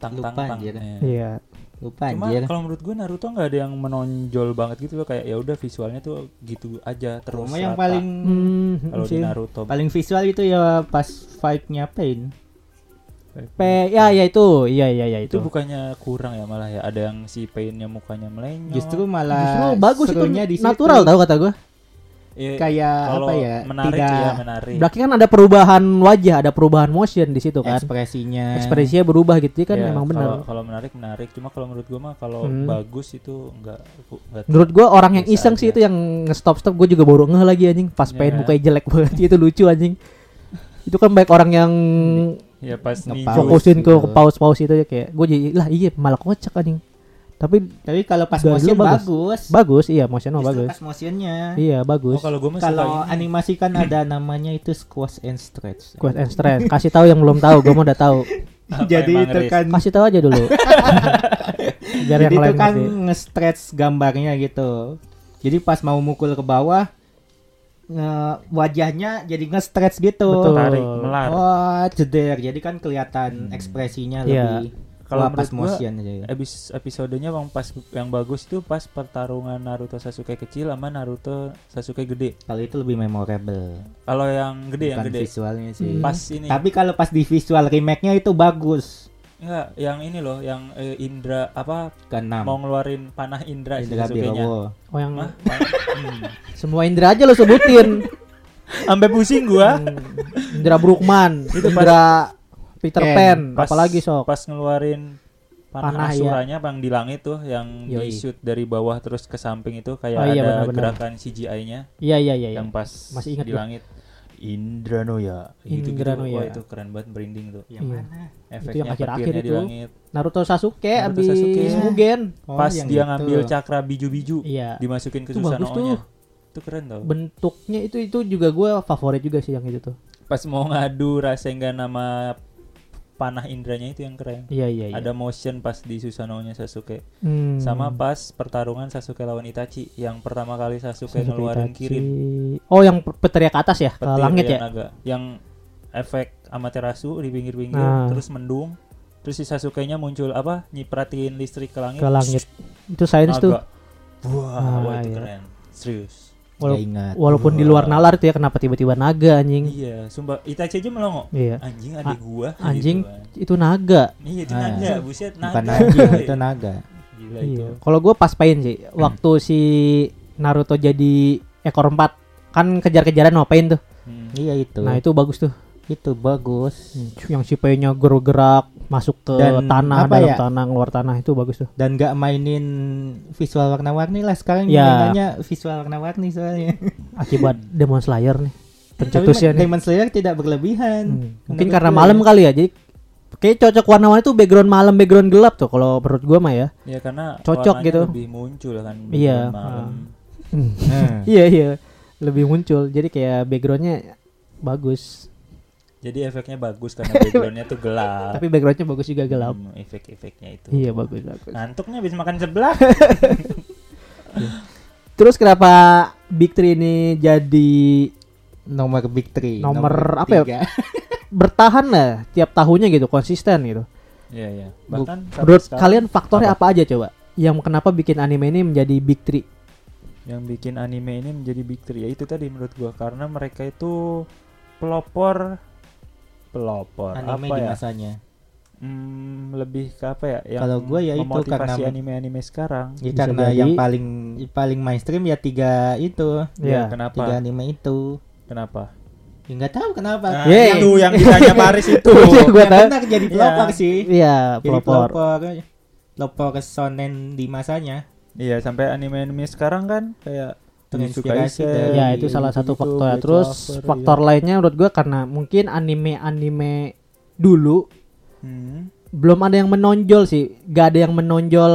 tang tang Lupa tang anjir. Iya. iya Lupa Cuma anjir. kalau menurut gue Naruto nggak ada yang menonjol banget gitu loh kayak ya udah visualnya tuh gitu aja terus. Cuma yang rata. paling Hmm, kalau di sih. Naruto paling visual itu ya pas fight-nya Pain. Pe- ya ya itu iya iya ya itu itu, bukannya kurang ya malah ya ada yang si painnya mukanya melenyok. Justru Justru malah bagus itu serunya di situ. natural tau kata gue Iya, Kayak kalau apa ya? Menarik tidak ya menarik. berarti kan ada perubahan wajah ada perubahan motion di situ kan ekspresinya. ekspresinya berubah gitu kan Iya, memang benar Kalau, kalau menarik menarik. Cuma kalau menurut gue mah kalau Hmm. bagus itu nggak nggak. Menurut gua orang yang Biasa iseng sih aja. itu yang nge-stop-stop gua juga baru ngeh lagi anjing pas Iya pengen kan? mukanya jelek banget itu lucu anjing. Itu kan baik orang yang Ya pas Ngepaus. ninja- fokusin ke gitu. ke paus-paus itu ya kayak gua jadi lah iya malah kocak anjing. Tapi Tapi kalau pas Gak, lu motion bagus. bagus. bagus iya motion mah Justru bagus. pas motionnya. Iya Oh bagus. kalau gue mah suka Kalau ini. animasi kan ada namanya itu squash and stretch. Quest and stress. Kasih tahu yang belum tahu, gua mau udah tahu. Apa Jadi emang, Riz? tekan Kasih tahu aja dulu. Biar Jadi yang itu lain kan ngerti. nge-stretch gambarnya gitu. Jadi pas mau mukul ke bawah nge- wajahnya jadi nge-stretch gitu. Betul. Tarik, melar. Wah, ceder. Jadi kan kelihatan Iya. ekspresinya lebih Hmm. Kalau kalau pas menurut gua, motion aja. ya. Abis episodenya yang pas yang bagus tuh pas pertarungan Naruto Sasuke kecil sama Naruto Sasuke gede. Kalau itu lebih memorable. Kalau yang gede yang Bukan gede. visualnya sih. Pas ini. Tapi kalau pas di visual remake-nya itu bagus. Enggak, yang ini loh yang eh, Indra apa mau Keenam. ngeluarin panah Indra si Indra Sasuke-nya. Birowo. Oh yang Mah, semua Indra aja lo sebutin. sampai pusing gua. Indra Brukman, Itu pas- Indra Peter Ken. Pan, Pas- apalagi sok. Pas ngeluarin panah, Panah, ya. asuranya bang di langit tuh yang Yoi. di shoot dari bawah terus ke samping itu kayak Oh, iya, ada benar-benar. gerakan CGI-nya Iya iya iya. iya. yang pas Masih ingat di gua. langit. Indranoya, Indranoya. Wah, itu keren banget merinding tuh. Yang Iya. mana? Efeknya akhir-akhir petirnya di itu. langit. Naruto Sasuke Naruto abis Sasuke. Mugen. Oh, Pas yang dia itu. ngambil cakra biju-biju, gitu. Iya. dimasukin ke Itu bagus tuh. Susanoo-nya. Itu keren tau. Bentuknya itu itu juga gue favorit juga sih yang itu tuh. Pas mau ngadu Rasengan nama panah indranya itu yang keren. Iya iya iya. Ada motion pas di Susanoo-nya Sasuke. Hmm. Sama pas pertarungan Sasuke lawan Itachi yang pertama kali Sasuke Sasuke, ngeluarin Itachi. Kirin. Oh yang pe- petir ke atas ya ke petir langit ya. yang naga. yang efek Amaterasu di pinggir-pinggir Nah. terus mendung terus si Sasuke-nya muncul apa nyipratin listrik ke langit Ke langit. Itu sains naga. tuh. wah, Ah, wah, iya. itu keren serius Wala- Nggak ingat. Walaupun di luar nalar tuh ya kenapa tiba-tiba naga anjing. Ya iya sumpah Itachi aja melongo Iya. anjing adik gua Anjing gitu kan. itu naga. iya itu Ah. naga buset naga Bukan anjing, woy. itu naga. gila Ya itu Hmm. Iya. Kalau gue pas pain sih waktu si Naruto jadi ekor empat kan kejar-kejaran sama Pain tuh. Hmm. Iya itu. Nah itu Hmm. bagus tuh. itu bagus. Yang si Painnya gerak-gerak masuk ke Dan tanah apa dalam ya? tanah keluar tanah itu bagus tuh. Dan nggak mainin visual warna-warni lah sekarang Ya. mainannya visual warna-warni soalnya. Akibat Demon Slayer nih Tapi pencetusnya nih. Demon Slayer tidak berlebihan. ya. Hmm. Mungkin Menurut karena gue malam ya. kali ya. Jadi kayak cocok warna-warni tuh background malam background gelap tuh kalau menurut gua mah ya. ya karena Cocok warnanya gitu. lebih muncul kan Iya. malam Nah. Iya iya. Lebih muncul. Jadi kayak backgroundnya bagus. jadi efeknya bagus karena backgroundnya tuh gelap Tapi backgroundnya bagus juga gelap. Hmm, efek-efeknya itu Iya bagus bagus. ngantuknya habis makan sebelah Terus kenapa Big Three ini jadi nomor big three Nomor apa ya? tiga. bertahan lah tiap tahunnya gitu konsisten gitu. Iya iya. Bu- Bahkan sampai Menurut sekarang kalian faktornya apa? aja coba? Yang kenapa bikin anime ini menjadi big three? yang bikin anime ini menjadi big three ya itu tadi menurut gua karena mereka itu pelopor pelopor anime apa di ya? masanya Hmm, lebih ke apa ya? Yang Kalau gua ya itu memotivasi karena- anime-anime sekarang. ya, Bisa karena jadi. yang paling paling mainstream ya tiga itu Ya. Kenapa? tiga Iya, anime itu Kenapa? ya nggak tahu kenapa Ah. Nah, Yeay. itu yang ditanya Paris itu. Iya, gua ya tahu. benar jadi pelopor Iya. sih Iya, jadi pelopor. pelopor pelopor shonen di masanya Iya, sampai anime-anime sekarang kan kayak Jujutsu Terinspirasi Kaisen, dari- Ya, itu salah satu gitu-gitu, faktor. Black Terus Clover, faktor iya. lainnya menurut gua karena mungkin anime-anime dulu Hmm. belum ada yang menonjol sih. Gak ada yang menonjol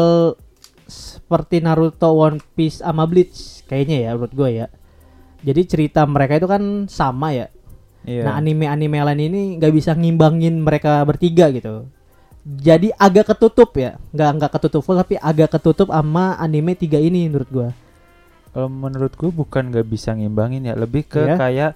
seperti Naruto, One Piece, sama Bleach kayaknya ya menurut gua ya. Jadi cerita mereka itu kan sama ya. Iya. Nah anime-anime lain ini nggak bisa ngimbangin mereka bertiga gitu. Jadi agak ketutup ya, nggak nggak ketutup full tapi agak ketutup sama anime tiga ini menurut gua. Kalau menurut gue bukan nggak bisa ngimbangin ya, lebih ke Iya. kayak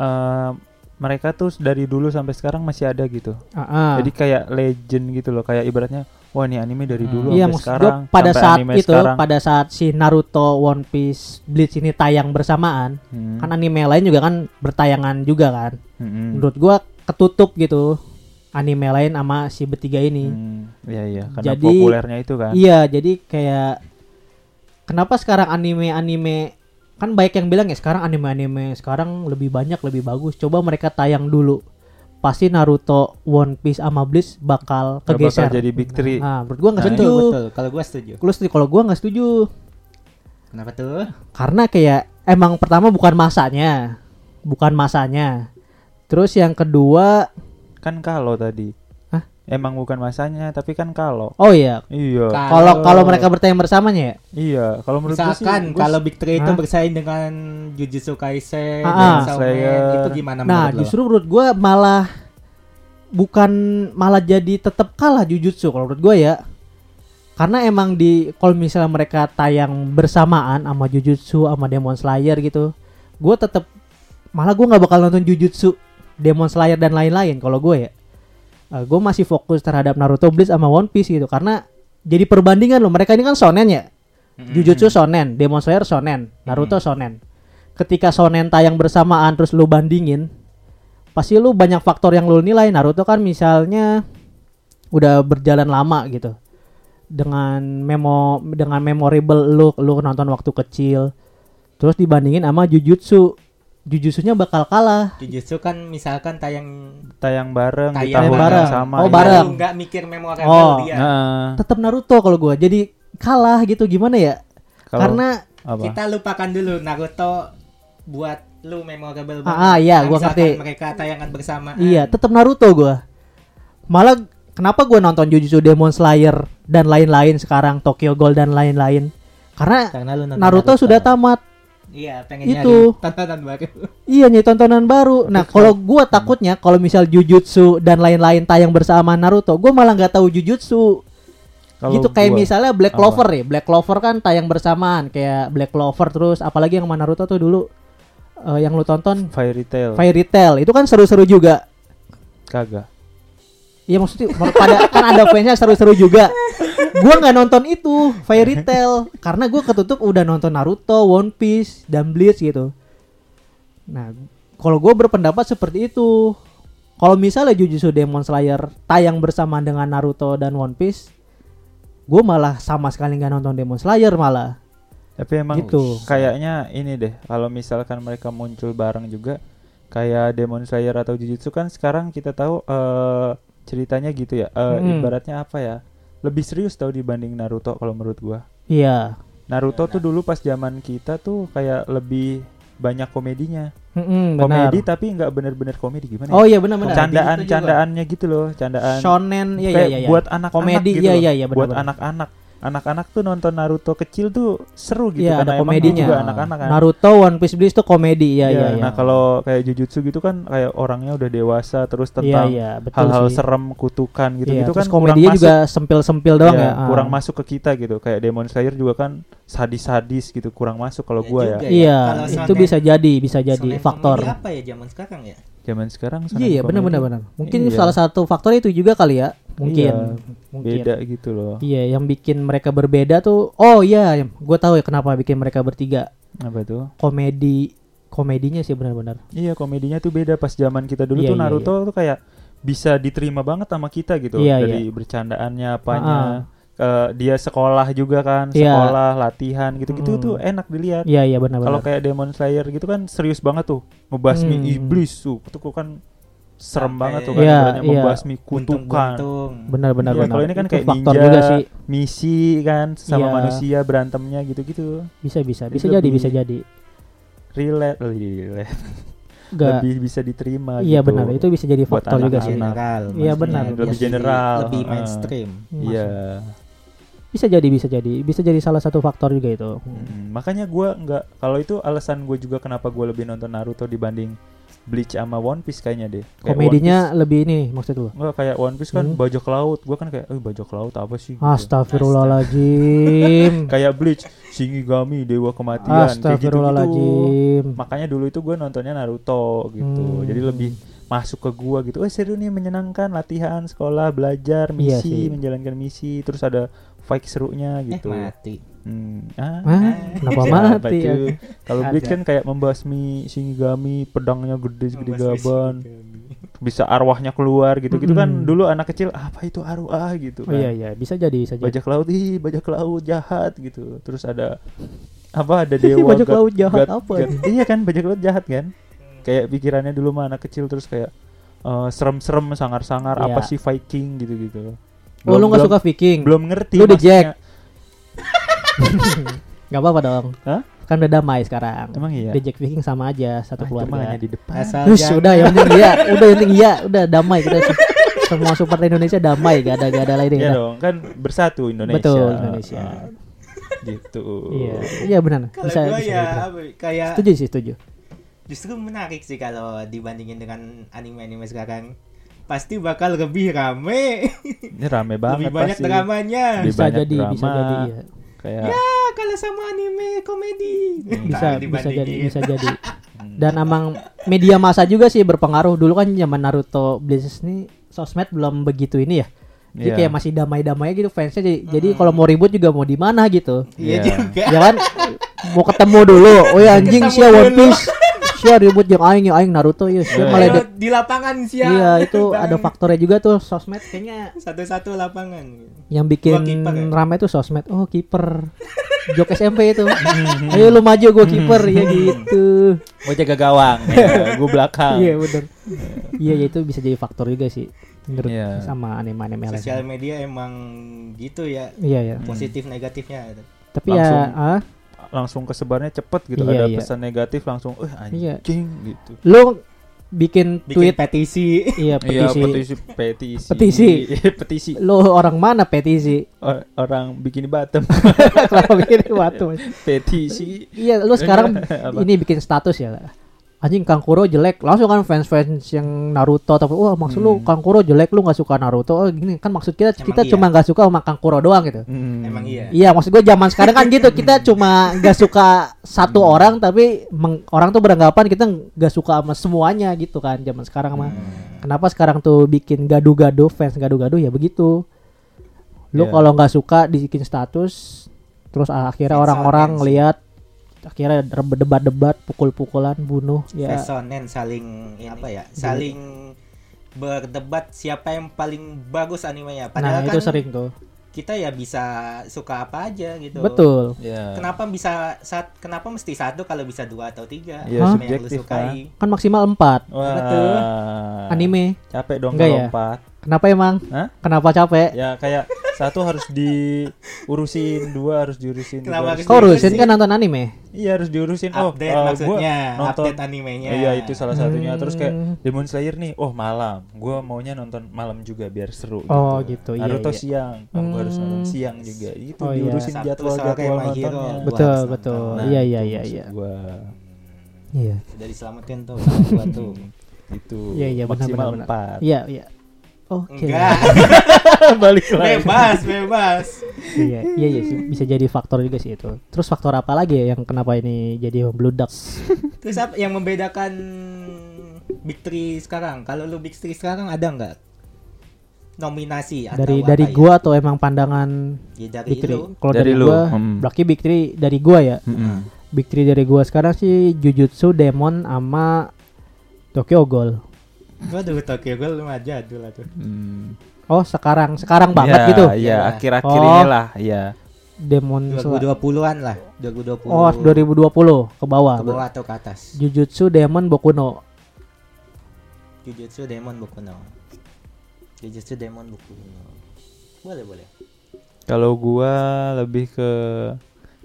eh, mereka tuh dari dulu sampai sekarang masih ada gitu. Ah, ah. Jadi kayak legend gitu loh, kayak ibaratnya wah ini anime dari dulu iya sampai maksud gua sekarang pada sampai saat anime itu, sekarang. pada saat si Naruto, One Piece, Bleach ini tayang bersamaan, Hmm, kan anime lain juga kan bertayangan juga kan. hmm, hmm, Menurut gua ketutup gitu anime lain sama si bertiga ini. hmm. Iya iya, karena Jadi- populernya itu kan. Iya, jadi kayak kenapa sekarang anime-anime kan baik yang bilang ya sekarang anime-anime sekarang lebih banyak lebih bagus. Coba mereka tayang dulu. Pasti Naruto, One Piece sama Bleach bakal Nggak bakal kegeser. jadi big three. Nah, menurut gua nggak setuju. betul betul kalau gua setuju Lu setuju? kalau gua nggak setuju. kenapa tuh Karena kayak emang pertama bukan masanya. Bukan masanya. Terus yang kedua, Kan kalau tadi. Hah? Emang bukan masanya, tapi kan kalau. oh iya, Iya. Ka- kalau kalau Kalau- mereka bertayang bersamanya ya. iya, kalau menurut gue sih misalkan gua kalau big three itu Hah? bersaing dengan Jujutsu Kaisen Ah, ah. dan Shounen, itu gimana Nah, menurut justru menurut gua malah bukan malah jadi tetap kalah Jujutsu kalau menurut gua ya. Karena emang di kalau misalnya mereka tayang bersamaan sama Jujutsu sama Demon Slayer gitu, gua tetap malah gua nggak bakal nonton Jujutsu, Demon Slayer dan lain-lain kalau gua ya. Eh, gua masih fokus terhadap Naruto Bleach sama One Piece gitu karena jadi perbandingan loh mereka ini kan shonen ya. Jujutsu shonen, Demon Slayer shonen, Naruto shonen. Ketika shonen tayang bersamaan terus lu bandingin, pasti lu banyak faktor yang lu nilai. Naruto kan misalnya udah berjalan lama gitu. Dengan memo dengan memorable lu lu nonton waktu kecil. Terus dibandingin sama Jujutsu. Jujutsunya bakal kalah. Jujutsu kan misalkan tayang Tayang bareng di Tayang tahun yang bareng. sama. Oh, ya. bareng. Lu nggak mikir memorable Oh, dia. Nah, Tetap Naruto kalau gua. Jadi kalah gitu gimana ya? kalau Karena apa? Kita lupakan dulu Naruto buat lu memorable banget. ah, ah, iya, Nah, gua misalkan ngerti. Mereka tayangan bersamaan. Iya, tetap Naruto gua. Malah kenapa gua nonton Jujutsu Demon Slayer dan lain-lain sekarang Tokyo Ghoul dan lain-lain? Karena Karena lu nonton Naruto sudah tamat. Iya, pengen Itu. nyari tontonan baru. Iya nih tontonan baru. Nah, kalau gua takutnya kalau misal Jujutsu dan lain-lain tayang bersama Naruto, gua malah nggak tahu Jujutsu. Kalau gitu kayak gua- misalnya Black apa? Clover ya. Black Clover kan tayang bersamaan kayak Black Clover terus apalagi yang sama Naruto tuh dulu eh, yang lu tonton Fairy Tail Fairy Tail itu kan seru-seru juga. kagak. Iya maksudnya pada kan ada fansnya seru-seru juga. Gua nggak nonton itu Fairy Tail karena gua ketutup udah nonton Naruto, One Piece, dan Bleach gitu. Nah, kalau gua berpendapat seperti itu. Kalau misalnya Jujutsu Demon Slayer tayang bersamaan dengan Naruto dan One Piece, gua malah sama sekali nggak nonton Demon Slayer malah. Tapi emang Gitu. kayaknya ini deh, kalau misalkan mereka muncul bareng juga kayak Demon Slayer atau Jujutsu kan sekarang kita tahu eh, ceritanya gitu ya. Eh, Hmm. ibaratnya apa ya? Lebih serius tau dibanding Naruto kalau menurut gua. Iya. Naruto tuh dulu pas zaman kita tuh kayak lebih banyak komedinya. Mm-mm, benar. Komedi tapi nggak bener-bener komedi gimana? ya? Oh iya benar-benar. candaan Begitu juga. candaannya gitu loh, candaan. Shonen, iya iya Kayak iya. iya. buat anak-anak Komedi, gitu iya, loh. iya, iya, buat benar-benar. anak-anak. Anak-anak tuh nonton Naruto kecil tuh seru gitu Iya, ada karena emang dia komedinya. juga anak-anak kan. Naruto, One Piece, Bleach tuh komedi, iya Iya, iya. iya. Nah, kalau kayak Jujutsu gitu kan kayak orangnya udah dewasa terus Iya, tentang iya, betul hal-hal sih. serem, kutukan Iya, gitu-gitu kan terus kurang komedinya juga masuk. sempil-sempil doang Iya, ya. ah. kurang masuk ke kita gitu. Kayak Demon Slayer juga kan sadis-sadis gitu, kurang masuk kalau Ya gua ya. juga. Iya, Kalau itu shonen- bisa jadi, bisa jadi Shonen faktor. komedi apa ya zaman sekarang ya? Zaman sekarang shonen Iya, iya, benar komedi benar benar. Mungkin Iya. salah satu faktor itu juga kali ya. Mungkin. Iya, Mungkin. beda gitu loh. Iya, yang bikin mereka berbeda tuh oh iya, gue tahu ya kenapa bikin mereka bertiga. Apa tuh? Komedi komedinya sih benar-benar. Iya komedinya tuh beda pas zaman kita dulu Iya, tuh iya, Naruto tuh kayak bisa diterima banget sama kita gitu Iya, Ah, dari bercandaannya apanya Eh, dia sekolah juga kan Iya. sekolah latihan gitu-gitu Mm. tuh enak dilihat Iya, iya benar-benar. kalau kayak Demon Slayer gitu kan serius banget tuh ngebasmi Hmm. iblis tuh itu kok kan serem Sampai- banget tuh kan Iya, ibaratnya iya. membasmi kutukan Buntung-buntung. benar-benar Iya, benar. kalau ini kan Itu kayak faktor ninja, juga sih. misi kan sama Iya. manusia berantemnya gitu-gitu Bisa bisa, Jadi bisa jadi, lebih- bisa jadi. relate, relate. Gak, lebih bisa diterima iya gitu. benar, itu bisa jadi Buat faktor juga anak-anak. sih. General. Iya, maksudnya. benar. Dia Lebih sendiri general, Lebih heeh. mainstream. Masuk. Iya. Bisa jadi, bisa jadi, bisa jadi salah satu faktor juga itu. Mm, makanya gua nggak kalau itu alasan gue juga kenapa gue lebih nonton Naruto dibanding Bleach sama One Piece kayaknya deh. Kayak One Komedinya lebih ini maksud lu? Piece- nggak kayak One Piece kan Hmm. bajak laut. Gue kan kayak, eh bajak laut apa sih?" gitu. Astagfirullahaladzim. Kayak Bleach, Shinigami, dewa kematian, kayak gitu-gitu. Astagfirullahaladzim. Makanya dulu itu gue nontonnya Naruto gitu. Hmm. Jadi lebih masuk ke gua gitu. Eh seru nih menyenangkan latihan, sekolah, belajar, Iya sih. misi, menjalankan misi, terus ada fight serunya Eh, gitu. mati. Hmm. Ah. Hah? Kenapa Apa mati? Iya, itu? Kalau Ada. Bleach kan kayak membasmi Shinigami, pedangnya gede segede Membasmi gaban, bisa arwahnya keluar gitu-gitu kan. Mm-mm. Dulu anak kecil apa itu arwah gitu Oh iya kan. iya, bisa jadi, bisa jadi. Bajak laut, ih bajak laut jahat gitu. Terus ada apa ada dewa Bajak laut jahat apa ini? Iya kan bajak laut jahat kan. Kayak pikirannya dulu mah anak kecil terus kayak eh, serem-serem sangar-sangar apa Iya. sih Viking gitu-gitu. Oh lu Belum- nggak belum- suka Viking? belum ngerti Lu di maksudnya. Gak apa-apa dong. Hah? Kan udah damai sekarang. Emang iya. Reject Viking sama aja Ah, satu itu mah hanya keluarga. Eh, di depan. Asal Terus jangan- udah yang penting iya, udah yang penting iya, udah damai kita se- semua supporter Indonesia damai, gak ada gak ada lain Iya ya. dong, kan bersatu Indonesia. Betul, Indonesia. Ah, gitu. Iya, iya benar. Kalau Bisa, gue bisa ya gitu. apa, kayak Setuju sih, setuju. justru menarik sih kalau dibandingin dengan anime-anime sekarang. Pasti bakal lebih rame. Ini rame banget lebih banyak pasti. dramanya. Lebih Bisa banyak jadi, bisa drama. jadi iya. Kayak Ah, kalau sama anime komedi. bisa Nah, bisa jadi dibandingin. bisa jadi Hmm. dan emang media massa juga sih berpengaruh dulu kan zaman Naruto Bleach nih sosmed belum begitu ini ya jadi Iya. kayak masih damai-damai gitu fansnya jadi, jadi Hmm. kalau mau ribut juga mau di mana gitu Iya. Iya juga. ya kan mau ketemu dulu oh ya anjing Ketemu sih One dulu. Piece si ya ribut jeung aing jeung aing Naruto ya Eh. malah Kalau dek- di lapangan siap. Iya, itu Bang. ada faktornya juga tuh sosmed kayaknya Satu-satu lapangan. yang bikin Gua kiper ya? ramai tuh sosmed. Oh, kiper. Jok SMP itu. Hmm. Ayo lu maju gua kiper ya gitu. Mau jaga gawang, gue belakang. Iya, bener Iya, ya, itu bisa jadi faktor juga sih menurut Iya. sama anime-anime lain. Sosial media emang gitu ya. Iya, iya. Positif negatifnya. Tapi Langsung. ya ah, Langsung kesebarnya cepet gitu. Iya, Ada iya. pesan negatif langsung, eh anjing Iya. gitu. lu bikin, Bikin tweet petisi. iya Iya, petisi. petisi, petisi, Petisi. petisi. Lu orang mana petisi? Or- orang bikini bottom, Kenapa bikin waktu? petisi. Iya, lu sekarang Apa? ini bikin status ya. Anjing Kangkuro jelek. Langsung kan fans-fans yang Naruto tapi wah maksud Hmm. lu Kangkuro jelek lu nggak suka Naruto. Oh, gini kan maksud kita Emang kita iya. cuma nggak suka sama Kangkuro doang gitu. Hmm. Emang iya. Iya, maksud gue zaman sekarang kan gitu. Kita cuma nggak suka satu orang tapi meng- orang tuh beranggapan kita nggak suka sama semuanya gitu kan zaman sekarang mah. Kenapa sekarang tuh bikin gaduh-gaduh fans gaduh-gaduh ya begitu. Lu Iya. kalau nggak suka dibikin status terus akhirnya Fans orang-orang audience. lihat akhirnya re- debat-debat pukul-pukulan bunuh ya Pesonen saling ya apa ya? Saling berdebat siapa yang paling bagus animenya. nah Padahal itu kan sering tuh kita ya bisa suka apa aja gitu. betul Iya. Kenapa bisa sat, kenapa mesti satu kalau bisa dua atau tiga? Iya, Anime yang subjektif, lu sukai. kan maksimal 4 Wah, Betul. anime Capek dong Enggak kalau ya? empat. kenapa emang Hah? kenapa capek Ya kayak satu harus diurusin, dua harus diurusin. tiga Kenapa harus- harus kau urusin sih. kan nonton anime Iya harus diurusin. Update oh, eh, gua maksudnya, nonton- update animenya. Iya itu salah satunya. Hmm. Terus kayak Demon Slayer nih, oh malam. Gua maunya nonton malam juga biar seru. Oh, gitu, iya, Naruto iya. siang, oh, gua harus nonton siang juga. Itu Oh, iya. diurusin Sabtu, jadwal sore jadwal My Hero. nontonnya. Gua betul harus nonton. betul Nah, iya iya itu iya maksud iya Gua iya Sudah diselamatin tuh sama gua tuh. itu iya iya benar maksimal benar benar. empat. iya iya oke Enggak, Balik lagi. bebas, bebas. iya iya iya sih. bisa jadi faktor juga sih itu terus faktor apa lagi ya yang kenapa ini jadi membludak Terus apa yang membedakan Big Three sekarang? Kalau lu Big Three sekarang ada nggak nominasi atau dari apa dari ya? gua atau emang pandangan Ya, dari Big Three lu. kalau dari, Dari lu, gua mm. berarti Big Three dari gua ya Mm-mm. Big Three dari gua sekarang sih Jujutsu, Demon, sama Tokyo Ghoul. Waduh, Tokyo Ghoul lumayan jadul lah tuh. Hmm. Oh sekarang sekarang banget Ya, gitu Ya, Iya. akhir-akhir Oh. inilah, ya. Demon Slayer. 2020-an lah, 2020. Hmm, Oh 2020 ke bawah. ke bawah atau ke atas. Jujutsu, Demon, Boku no. Jujutsu Demon Boku no. Jujutsu Demon Boku no. Boleh, boleh. Kalau gua lebih ke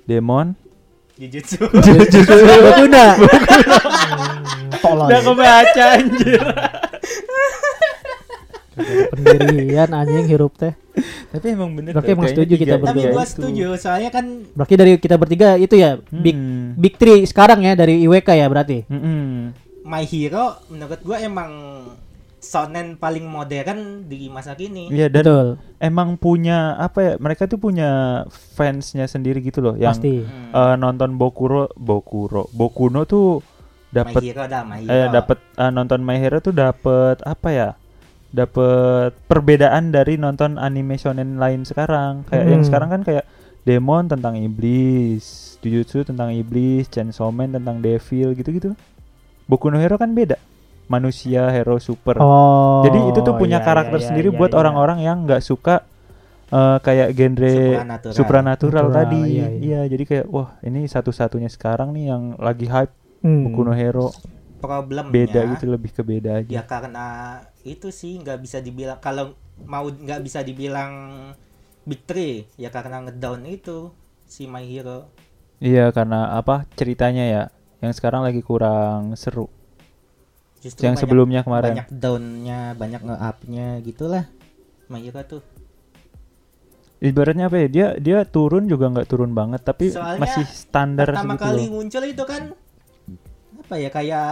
Demon. Jujutsu. Jujutsu Boku no. Hmm, Tolol. Udah kebaca anjir. Pendirian anjing hirup teh. Tapi emang bener. Berarti tuh, emang kayaknya setuju kita tiga- Tapi berdua. tiga gua itu. setuju, soalnya kan Berarti dari kita bertiga itu ya Big Hmm. Big Three sekarang ya dari IWK ya berarti. Mm-mm. My Hero menurut gua emang shonen paling modern di masa kini. Iya dan Betul. emang punya apa ya? Mereka tuh punya fansnya sendiri gitu loh. Yang Pasti. Hmm. eh, nonton Bokuro, Bokuro, Bokuno tuh My dapat Hero dah, My Hero. Iya. eh, dapat eh, nonton My Hero tuh dapat apa ya? Dapat perbedaan dari nonton anime shonen lain sekarang. Kayak yang Hmm. sekarang kan kayak Demon tentang iblis, Jujutsu tentang iblis, Chainsaw Man tentang devil gitu-gitu. Boku no Hero kan beda. Manusia hero super. Oh. Jadi itu tuh punya iya, karakter iya, sendiri iya, buat iya. orang-orang yang nggak suka eh, kayak genre Supranatural. supranatural, Natural, tadi. iya, Iya, iya. jadi kayak wah ini satu-satunya sekarang nih yang lagi hype Hmm. Boku no Hero Problemnya beda gitu lebih ke beda aja. Ya karena itu sih nggak bisa dibilang kalau mau nggak bisa dibilang Big Three ya karena ngedown itu si My Hero. Iya karena apa ceritanya ya yang sekarang lagi kurang seru. Yang Justru banyak- sebelumnya kemarin. banyak downnya, banyak nge-upnya gitulah. My Hero tuh. Ibaratnya apa ya dia dia turun juga nggak turun banget tapi Soalnya masih standar Pertama segitu. kali loh. muncul itu kan apa ya kayak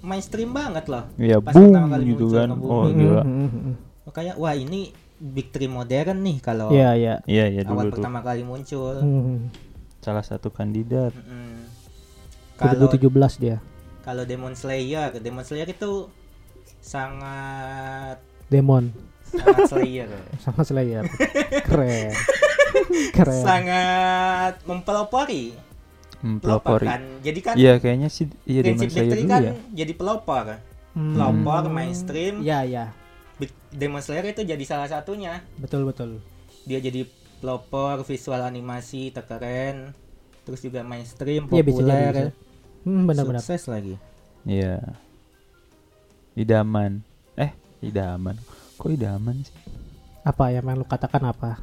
mainstream banget loh. Iya Pas boom pertama kali gitu muncul, kan. nge-boom. Oh Hmm, gila. hmm, hmm, hmm. Makanya wah ini Big Three modern nih kalau Iya iya. Iya iya awal dulu tuh pertama kali muncul. Hmm. salah satu kandidat. Mm-mm. Kalau 2017 dia. kalau Demon Slayer, Demon Slayer itu sangat Demon sangat Slayer. sama Slayer. Keren. Keren. sangat mempelopori Hmm, pelopor. pelopor kan jadi kan Iya kayaknya sih iya Demon prinsip Big Slayer Three dulu kan ya. jadi pelopor Hmm. pelopor mainstream Iya, iya. Big- Demon Slayer itu jadi salah satunya Betul, betul. dia jadi pelopor visual animasi terkeren terus juga mainstream Iya, bisa jadi, populer ya. bisa. Hmm, benar-benar. sukses lagi Iya. Idaman. Eh, idaman. Kok idaman sih? Apa yang pengen lu katakan apa?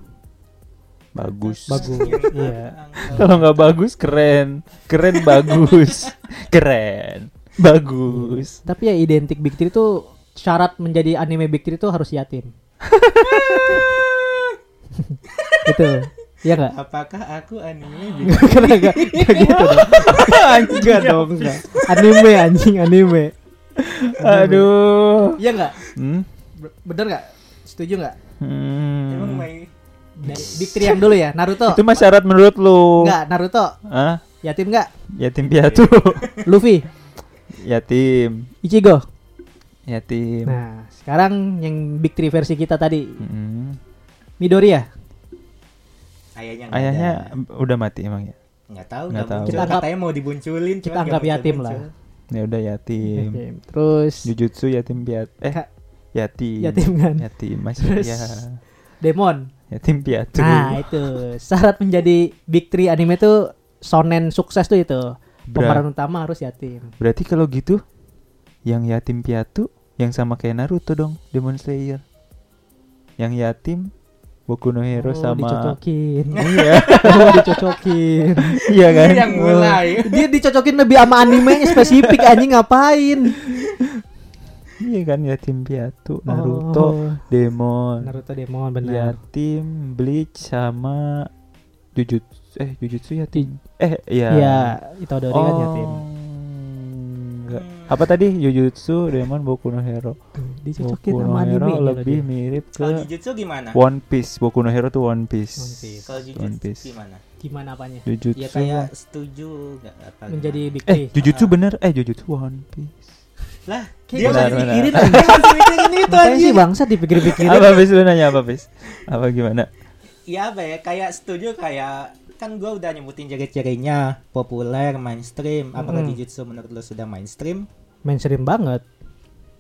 Bagus. Bagus. Iya. Kalau nggak bagus keren. Keren bagus. keren. Bagus. Tapi ya identik Big Three itu syarat menjadi anime Big Three itu harus yatim. gitu. Iya enggak? apakah aku anime Hmm. Big Enggak, enggak, enggak gitu dong. Enggak dong, enggak. Anime anjing, anime. Aduh. Iya enggak? Hmm? Be- Bener enggak? Setuju enggak? Hmm. Emang main Dari Big Three yang dulu ya, Naruto. Itu mah syarat menurut lu. Enggak, Naruto. Hah? Yatim enggak? Yatim piatu. Luffy, Yatim. Ichigo. Yatim. Nah, sekarang yang Big Three versi kita tadi, Mm-mm. Midoriya. ayahnya nggak Ayahnya ada. em, udah mati emang ya. nggak tahu Nggak nggak tahu. muncul Kita anggap- katanya mau dibunculin kita cuman nggak anggap yatim muncul-muncul. lah. Ya udah yatim. Yatim. Terus Jujutsu yatim piat eh Ka- yatim. yatim kan? Yatim masih Terus- ya. Demon. Yatim piatu. Nah, itu syarat menjadi Big Three anime tuh shonen sukses tuh itu. Berat. Pemeran utama harus ya, yatim. Berarti kalau gitu yang yatim piatu yang sama kayak Naruto dong, Demon Slayer. Yang yatim Boku no Oh, Hero sama dicocokin. Iya, Oh, dicocokin. iya kan? yang mulai Dia dicocokin lebih sama animenya spesifik anjing ngapain? Iya kan yatim Oh, piatu, Naruto, Demon, Naruto Demon benar. yatim, Bleach sama Jujutsu eh Jujutsu yatim. Eh iya. Oh, Iya, Itadori kan yatim. Enggak. Apa tadi Jujutsu Demon Boku no Hero. Dicocokin Boku no sama Hero anime Oh, Iya, lebih mirip kalau ke jujutsu gimana One Piece. Boku no Hero tuh One Piece. One Piece. kalau One Piece. jujutsu gimana gimana apanya? Jujutsu. ya kayak setuju nggak apa gimana? Menjadi Big eh Three. Jujutsu bener. Eh Jujutsu One Piece. lah Kayak Benar, masih benar. dipikirin lagi. Masih mikirin itu Makanya sih bangsa dipikir-pikirin. Apa bis lu nanya apa bis? Apa gimana? ya apa ya kayak setuju kayak kan gua udah nyebutin ciri-cirinya populer mainstream apakah Mm-mm. jujutsu menurut lo sudah mainstream Mainstream banget.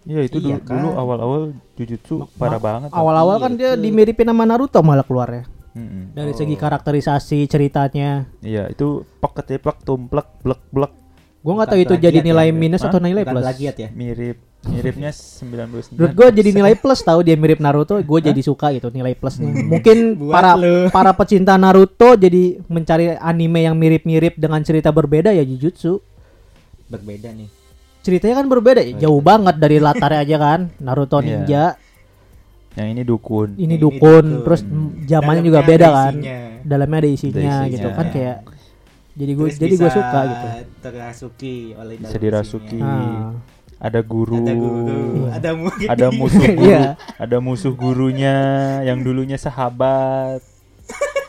Iya itu Iya dulu, dulu kan. awal-awal Jujutsu parah banget. tau. Awal-awal kan dia dimiripin sama Naruto malah keluarnya. Mm-mm. Dari Oh. segi karakterisasi ceritanya. Iya itu peket teplek tumplek blek blek Gua nggak Bukan tahu itu jadi plagiat ya, nilai Beb. minus Hah? atau nilai bukan plus. plagiat ya mirip miripnya 99 Menurut gue jadi nilai plus tahu dia mirip Naruto, gue jadi suka gitu nilai plusnya. Mungkin Buat para lu. para pecinta Naruto jadi mencari anime yang mirip-mirip dengan cerita berbeda ya Jujutsu. berbeda nih Ceritanya kan berbeda, Oh, iya. ya, jauh banget dari latarnya aja kan. Naruto Iya. ninja, yang ini dukun ini Ini dukun, dukun. terus zamannya Dalamnya juga ada beda kan. isinya. Dalamnya ada isinya, Ada isinya. gitu kan Iya. kayak. Jadi gue Terus jadi gue bisa suka gitu. terasuki oleh Bisa dalam dirasuki. isinya. Nah, ada guru Iya. ada guru ada murid ada musuh guru Iya. ada musuh gurunya yang dulunya sahabat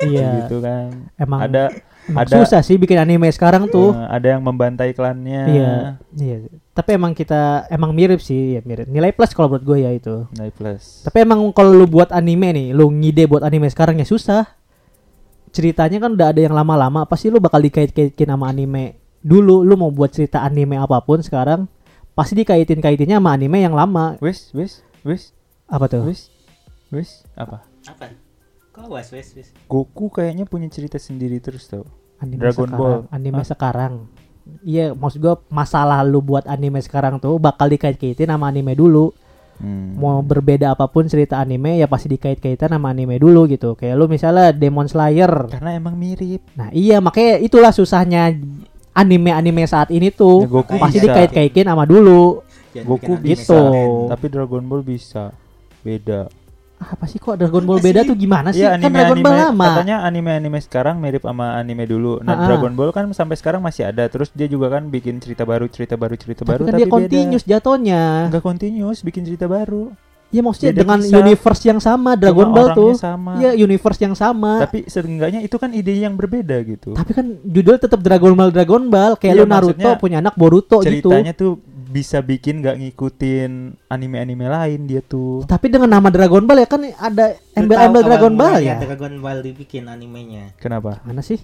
iya. gitu kan Emang- ada Emang ada susah sih bikin anime sekarang tuh. eh, ada yang membantai klannya Iya, iya. Tapi emang kita emang mirip sih, ya mirip. Nilai plus kalau buat gue ya itu. nilai Nah, plus Tapi emang kalau lu buat anime nih, lu ngide buat anime sekarang ya susah. Ceritanya kan udah ada yang lama-lama, pasti lu bakal dikait-kaitin sama anime. Dulu lu mau buat cerita anime apapun sekarang, pasti dikaitin-kaitinnya sama anime yang lama. wis wis wis Apa tuh? wis wis apa apa kok was wes wes Goku kayaknya punya cerita sendiri terus tau Anime Dragon sekarang, Ball. anime Hah? sekarang. Iya, maksud gue masalah lu buat anime sekarang tuh bakal dikait-kaitin sama anime dulu. Hmm. mau berbeda apapun cerita anime ya pasti dikait-kaitan sama anime dulu gitu. Kayak lu misalnya Demon Slayer. karena emang mirip Nah, iya makanya itulah susahnya anime-anime saat ini Ya, tuh Goku pasti bisa dikait-kaitin sama dulu. Jangan Goku bikin anime gitu. keren. tapi Dragon Ball bisa beda Ah, Apa sih kok Dragon Ball beda tuh gimana sih? Iya kan Dragon Ball lama. katanya anime-anime sekarang mirip sama anime dulu. Nah, Ah-ah. Dragon Ball kan sampai sekarang masih ada. Terus dia juga kan bikin cerita baru, cerita baru, cerita Tapi baru kan tapi dia continuous jatuhnya. beda. Enggak continuous, bikin cerita baru. Ya maksudnya Beda dengan bisa. universe yang sama Dragon Cuma Ball orangnya tuh. sama. Iya, universe yang sama. Tapi, Tapi seenggaknya itu kan ide yang berbeda gitu. kan judul tetap Dragon Ball Dragon Ball kayak lu Iya, Naruto maksudnya punya anak Boruto gitu. Ceritanya tuh bisa bikin nggak ngikutin anime-anime lain dia tuh. Tapi dengan nama Dragon Ball ya kan ada Lu tahu embel-embel awal Dragon Ball mulanya ya. Dragon Ball dibikin animenya Kenapa? Mana sih?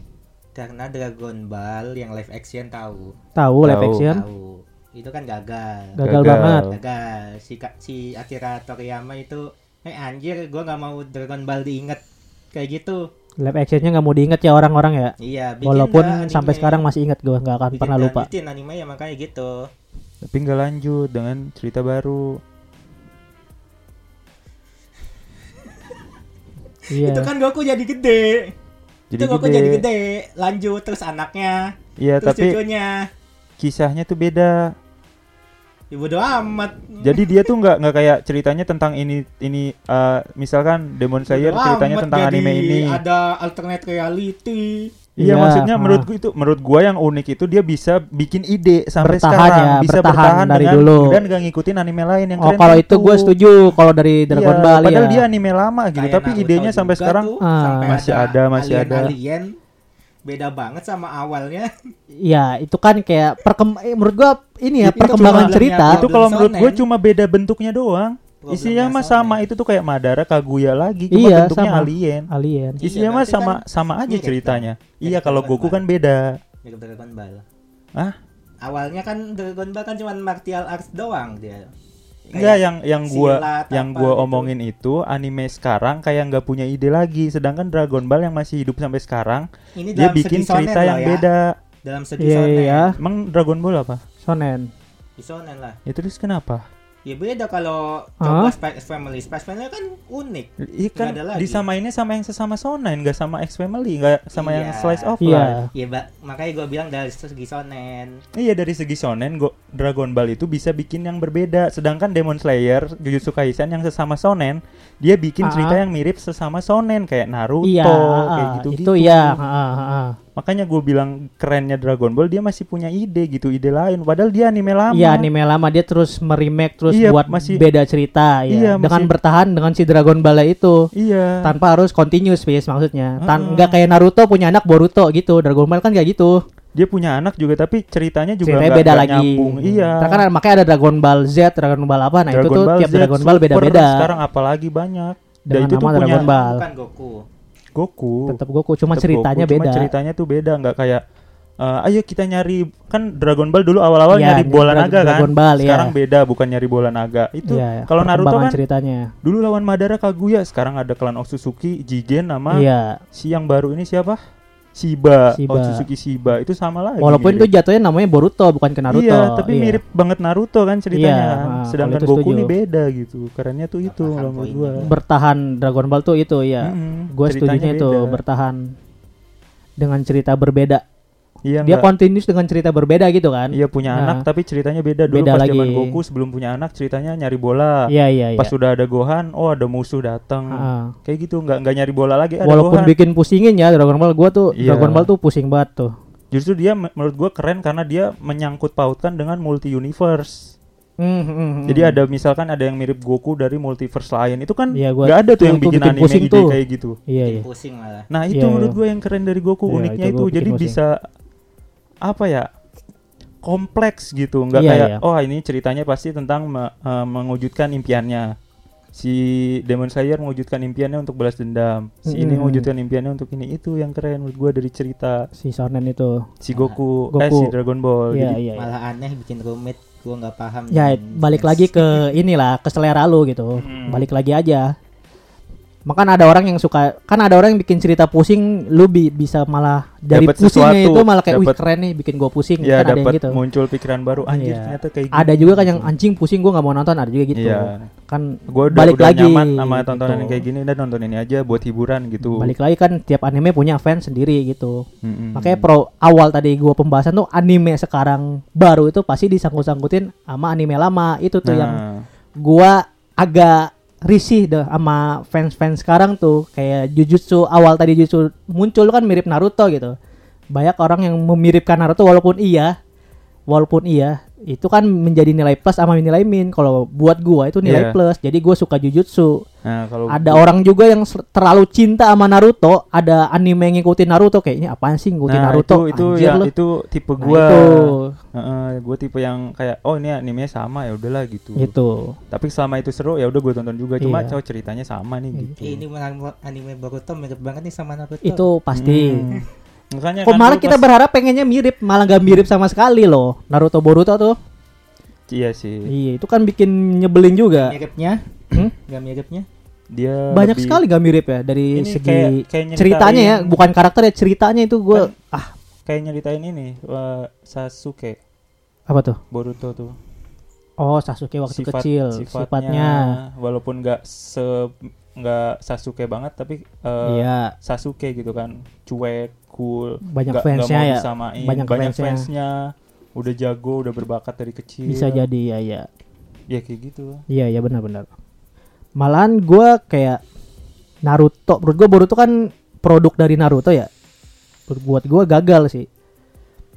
karena Dragon Ball yang live action tahu Tahu live Tahu. action? tahu itu kan gagal Iya. Gagal banget. gagal si Ka- si Akira Toriyama itu eh anjir gua nggak mau Dragon Ball diinget kayak gitu Live actionnya nggak mau diingat ya orang-orang ya. iya bikin Walaupun dah anime. sampai sekarang masih ingat gua nggak akan Bikin pernah dah, lupa. bikin anime ya makanya gitu Tapi nggak lanjut dengan cerita baru. Iya. itu kan Goku jadi gede Jadi itu Goku gede. jadi gede lanjut terus anaknya Ya, Iya, terus tapi cucunya kisahnya tuh beda. ibu doa Ya, amat Jadi dia tuh nggak nggak kayak ceritanya tentang ini ini eh, misalkan Demon Slayer Bodo ceritanya amat, tentang jadi anime ini. ada alternate reality Iya Iya, maksudnya ah. menurut gua itu menurut gua yang unik itu dia bisa bikin ide sampai Bertahan sekarang ya, bisa bertahan dari dengan, dulu. dan gak ngikutin anime lain yang Oh keren gitu. kalau itu gue setuju kalau dari Dragon Iya, Ball Padahal ya. dia anime lama gitu Kayak tapi Naruto idenya sampai juga sekarang tuh, Ah. sampai Masih ada, masih ada. alien beda banget sama awalnya Iya itu kan kayak perkem eh, menurut gua ini ya Itu perkembangan cuma cerita. belakangnya itu kalau Belum menurut gue shonen. cuma beda bentuknya doang. ya. Gua Isinya belum mah shonen. sama itu tuh kayak Madara Kaguya lagi cuma Iya bentuknya sama alien. Alien. Iya, Isinya mah berarti sama kan sama aja mirip ceritanya. dong. Iya Mirip kalau Dragon Goku Ball. kan beda. mirip Dragon Ball Hah? awalnya kan Dragon Ball kan cuma martial arts doang dia Enggak yang yang gua silat yang apa gua gitu. omongin itu anime sekarang kayak nggak punya ide lagi sedangkan Dragon Ball yang masih hidup sampai sekarang ini dia dalam bikin segi shonen cerita loh yang ya. beda. dalam segi Iya shonen iya. Emang Dragon Ball apa? Shonen. Di shonen lah Ya terus kenapa? ya beda kalau Hah? coba Spy x Family Spy x Family kan unik Iya kan Nggak ada lagi. disamainnya sama yang sesama Shonen, nggak sama X Family, nggak sama yang Iya. Slice of Iya. Life. ya ba- makanya gua bilang dari segi shonen Iya dari segi shonen, go- Dragon Ball itu bisa bikin yang berbeda. Sedangkan Demon Slayer, Jujutsu Kaisen yang sesama shonen, dia bikin Ah. cerita yang mirip sesama shonen kayak Naruto, Iya. kayak ah, gitu gitu. Itu ya. ah, ah, ah. Makanya gue bilang kerennya Dragon Ball dia masih punya ide gitu, ide lain. Padahal dia anime lama. Iya anime lama dia terus meremake terus Iya, buat masih- beda cerita ya. Iya, dengan masih- bertahan dengan si Dragon Ball itu Iya. tanpa harus continuous base maksudnya. Heeh. Tan nggak kayak Naruto punya anak Boruto gitu. Dragon Ball kan kayak gitu. Dia punya anak juga tapi ceritanya juga Ceritanya nggak- beda nggak lagi. nyambung. Iya. Karena kan makanya ada Dragon Ball Z, Dragon Ball apa nah itu tuh tiap Z, Dragon Ball Super, beda-beda. Sekarang apalagi banyak. Dan Dengan itu tuh nama punya Dragon Ball. bukan Goku Goku. Tetap Goku cuma Tetep ceritanya Goku, cuma beda. ceritanya tuh beda nggak kayak eh, ayo kita nyari kan Dragon Ball dulu awal-awal Iya, nyari bola Dra- naga kan. Dragon Ball, iya. Sekarang beda bukan nyari bola naga. Itu Iya, kalau Naruto perkembangan kan ceritanya. dulu lawan Madara Kaguya, sekarang ada klan Otsutsuki, Jigen nama Iya. si yang baru ini siapa? Shiba, Shiba. Otsutsuki Shiba. Itu sama lagi. Walaupun itu mirip. jatuhnya namanya Boruto bukan ke Naruto. gitu. Iya, tapi iya. mirip banget Naruto kan ceritanya. Iya, kan. ah, kalau Sedangkan itu Goku setuju. ini beda gitu. Kerennya tuh itu paham kalau menurut poinnya. gua. bertahan Dragon Ball tuh itu ya. Mm-mm, Gue ceritanya setujunya itu beda. bertahan dengan cerita berbeda. Iya, Dia nggak- continuous dengan cerita berbeda gitu kan? Iya punya Nah. anak tapi ceritanya beda dulu Beda pas lagi. zaman Goku sebelum punya anak ceritanya nyari bola. Iya iya iya. Ah. Pas sudah ada Gohan, oh ada musuh datang. Heeh. Kayak gitu nggak nggak nyari bola lagi ada Walaupun Gohan. bikin pusingin ya Dragon Ball gua tuh Iya. Dragon Ball tuh pusing banget tuh. Justru dia me- menurut gua keren karena dia menyangkut pautkan dengan multi universe. Hmm, hmm, hmm. Jadi ada misalkan ada yang mirip Goku dari multiverse lain itu kan Iya, nggak gua- ada tuh yang itu bikin, bikin anime pusing ide tuh. kayak gitu. iya Bikin iya. pusing malah Nah itu Iya, menurut iya. gue yang keren dari Goku Iya, uniknya itu itu, gua bikin jadi pusing. bisa apa ya kompleks gitu nggak Iya, kayak iya. oh ini ceritanya pasti tentang me- eh, mewujudkan impiannya si Demon Slayer mewujudkan impiannya untuk balas dendam si ini Mm-mm. mewujudkan impiannya untuk ini itu yang keren menurut gue dari cerita Si Shonen itu. si Ah, Goku, eh Goku. si Dragon Ball Iya Jadi- iya. iya. malah aneh bikin rumit gua nggak paham Ya balik lagi ke inilah ke selera lu gitu. Mm. Balik lagi aja. Makan ada orang yang suka kan ada orang yang bikin cerita pusing lu bi- bisa malah dari Dapet pusingnya sesuatu, itu malah kayak wih dapet- keren nih bikin gua pusing kan ya ada yang dapat gitu. muncul pikiran baru anjir Iya. ternyata kayak gitu." Ada juga kan yang anjing pusing gua nggak mau nonton ada juga gitu. Iya. Kan gue udah, balik udah lagi nyaman sama tontonan gitu. yang kayak gini udah nonton ini aja buat hiburan gitu Balik lagi kan tiap anime punya fans sendiri gitu. Mm-mm. Makanya pro awal tadi gua pembahasan tuh anime sekarang baru itu pasti disangkut-sangkutin sama anime lama itu tuh yang Nah. gua agak risih deh sama fans-fans sekarang tuh kayak Jujutsu awal tadi Jujutsu muncul kan mirip Naruto gitu. Banyak orang yang memiripkan Naruto walaupun iya walaupun iya itu kan menjadi nilai plus sama nilai min. Kalau buat gua itu nilai Iya. plus. Jadi gua suka Jujutsu. Nah, kalau Ada orang juga yang ser- terlalu cinta sama Naruto, ada anime yang ngikutin Naruto kayaknya apaan sih ngikutin Nah, Naruto? itu itu Anjir ya lu. itu tipe Nah, gua. itu. Heeh, gua tipe yang kayak oh ini animenya sama ya udahlah gitu. Gitu. Tapi selama itu seru ya udah gua tonton juga. Cuma Iya. cowok ceritanya sama nih gitu. Eh, ini menang- anime Boruto mirip banget nih sama Naruto Itu pasti. Hmm. Makanya Kok kan malah lu kita pas- berharap pengennya mirip, malah nggak mirip sama sekali loh. Naruto Boruto tuh. Iya sih. Iya, itu kan bikin nyebelin juga. Miripnya? Hmm? Nggak miripnya? Dia Banyak lebih- sekali gak mirip ya dari Ini segi kayak- kayak nyeritain- Kan? ceritanya ya, bukan karakter ya ceritanya itu gue ah Kayak nyeritain ini eh, Sasuke apa tuh? Boruto tuh. Oh Sasuke waktu Sifat- kecil sifatnya, walaupun nggak se nggak Sasuke banget tapi eh, iya Sasuke gitu kan cuek cool Banyak nggak- fansnya nggak mau ya, disamain, banyak, banyak fansnya. fansnya. udah jago udah berbakat dari kecil bisa jadi ya ya ya kayak gitu iya ya benar-benar. Malahan gue kayak Naruto, menurut gue Boruto kan produk dari Naruto ya. Buat gue gagal sih.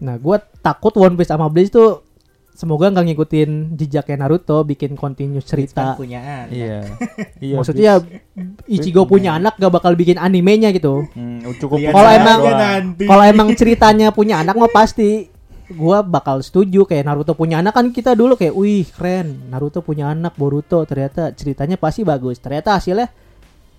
Nah gue takut One Piece sama Bleach tuh semoga nggak ngikutin jejaknya Naruto, bikin continue Kan cerita. punyaan. iya iya Maksudnya Blitz. Ichigo punya anak gak bakal bikin animenya gitu. Hmm, cukup Lihat Kalau aja emang- nanti. Kalau emang ceritanya punya anak mah pasti gua bakal setuju kayak Naruto punya anak kan kita dulu kayak wih keren Naruto punya anak Boruto ternyata ceritanya pasti bagus. Ternyata hasilnya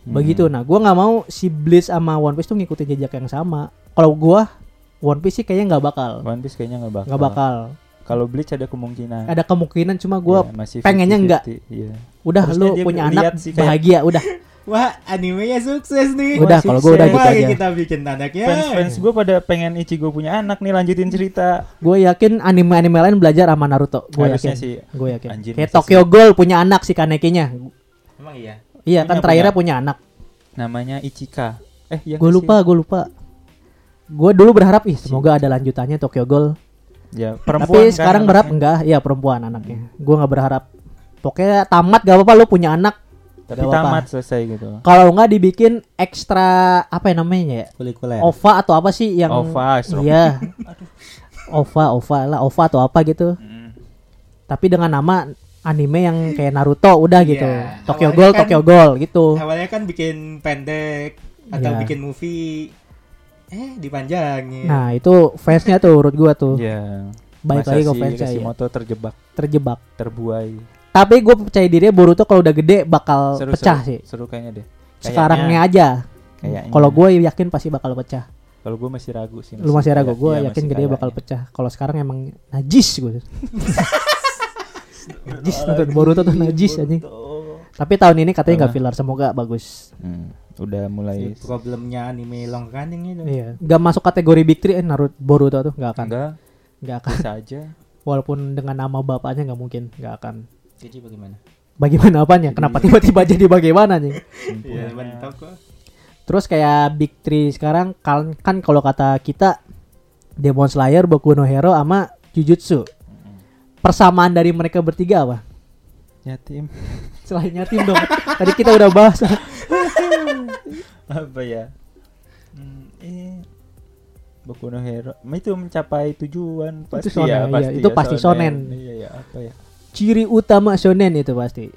begitu. Hmm. Nah, gua nggak mau si Bleach sama One Piece tuh ngikutin jejak yang sama. Kalau gua One Piece sih kayaknya nggak bakal. One Piece kayaknya nggak bakal nggak bakal. kalau Bleach ada kemungkinan Ada kemungkinan cuma gua Iya, masih pengennya 50-50, nggak. iya udah Harusnya lu dia punya lihat anak sih kayak- bahagia udah. Wah, animenya sukses nih. Udah, Wah, kalau gua udah sukses. gitu Mari aja. kita bikin anaknya. fans fans gue pada pengen Ichigo punya anak nih lanjutin cerita Gue yakin anime-anime lain belajar sama Naruto. Gue yakin. Harusnya sih. Gue yakin. Anjing, Kayak masa Tokyo Ghoul punya anak si Kanekinya. Emang iya. Iya Punya, Iya kan terakhirnya punya anak. namanya Ichika eh yang Gue lupa, gue lupa. Gue dulu berharap ih semoga ada lanjutannya Tokyo Ghoul. ya Tapi perempuan kan sekarang berharap anaknya. enggak, ya perempuan anaknya. Gue nggak berharap. Pokoknya tamat gak apa-apa lu punya anak. tapi Nggak apa-apa. tamat selesai gitu Kalau nggak dibikin ekstra apa ya namanya ya? Kulikuler. OVA atau apa sih yang Iya. OVA, Astro. Iya. OVA, OVA lah, OVA atau apa gitu. Mm. Tapi dengan nama anime yang kayak Naruto udah gitu. Iya. Tokyo Awalnya Ghoul, kan- Tokyo Ghoul gitu. Awalnya kan bikin pendek atau Iya. bikin movie eh dipanjangin. Nah, itu fansnya tuh menurut gua tuh Ya. Baik Iya. Masa lagi ke si fansnya ya. Kishimoto terjebak, terjebak. terbuai. Tapi gue percaya dirinya Boruto kalau udah gede bakal Oh, Seru, pecah seru, sih. Seru kayaknya deh. Kayaknya. Sekarangnya aja. Kayaknya. Kalau gue yakin pasti bakal pecah. Kalau gue masih ragu ya. sih. Lu masih ragu, kayak- gue iya, yakin masih gede kayaknya. bakal pecah. Kalau sekarang emang najis gue. najis nonton Boruto tuh najis anjing. Tapi tahun ini katanya nggak Karena- filler, semoga bagus. Hmm, udah mulai. Si problemnya anime long running itu. Iya, nggak masuk kategori Big Three, eh, Naruto Boruto tuh nggak akan, Enggak, nggak akan. bisa aja. Walaupun dengan nama bapaknya nggak mungkin, nggak akan. Jadi bagaimana? Bagaimana apanya? Kenapa tiba-tiba jadi bagaimana nih? Iya, Simpulnya. mantap kok. Terus kayak Big Three sekarang kan, kan kalau kata kita Demon Slayer, Boku no Hero sama Jujutsu. Persamaan dari mereka bertiga apa? Yatim. Selainnya tim dong. Tadi kita udah bahas. Apa ya? Hmm, eh Boku no Hero. Nah, Itu mencapai tujuan pasti shonen, ya, iya. pasti Itu ya, pasti shonen. Iya, iya, apa ya? Ciri utama shonen itu pasti.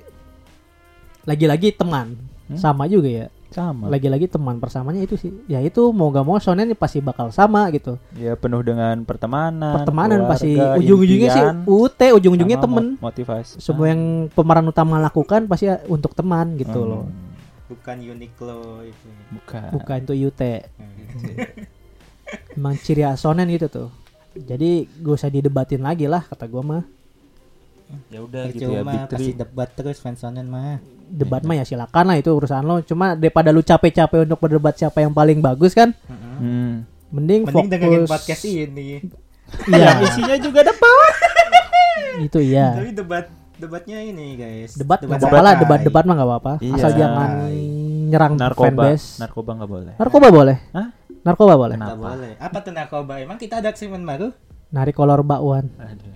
Lagi-lagi teman. Sama juga ya. Sama. Lagi-lagi teman persamanya itu sih. Ya itu mau gak mau shonen pasti bakal sama gitu. Ya penuh dengan pertemanan. Pertemanan pasti keluarga, ujung-ujungnya sih impian, UT, ujung-ujungnya sama temen. mot- Motivasi. Semua yang pemeran utama lakukan pasti ya untuk teman gitu Hmm, Ya. loh. Bukan Uniqlo itu. Bukan. Bukan itu UT. gitu Hmm. emang ciri asonen gitu tuh jadi gak usah didebatin lagi lah kata gua mah Ya udah gitu ya, Big Percuma Three. pasti debat terus fans shonen mah. debat mah ya silakan lah itu urusan lo cuma daripada lu capek-capek untuk berdebat siapa yang paling bagus kan Hmm. mending, Mending dengerin fokus podcast ini. iya Yang isinya juga depan. itu iya Tapi debat debatnya ini guys. debat nggak apa-apa lah santai. debat-debat mah nggak apa-apa Iya. asal jangan nyerang Narkoba. fanbase Narkoba nggak boleh. narkoba boleh Hah? narkoba boleh Nggak Kenapa? boleh. Apa tuh narkoba? Emang kita ada segmen baru? narik kolor bakwan Aduh.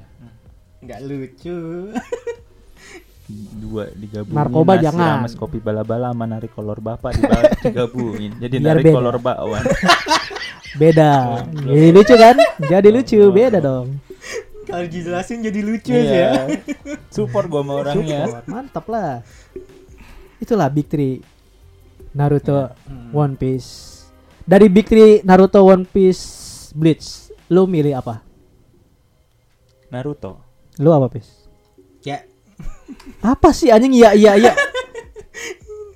Nggak lucu. Dua digabungin. Narkoba nasi jangan. rames, kopi bala-bala sama narik kolor bapak dibalik digabungin. Jadi Biar narik beda. kolor bakwan. beda jadi lucu kan jadi lucu beda dong Kalau dijelasin jadi lucu Iya. ya. aja. Support gua sama orangnya. mantap lah itulah big three Naruto One Piece dari big three Naruto One Piece Bleach lu milih apa Naruto. lu apa Piece Ya. apa sih anjing iya iya iya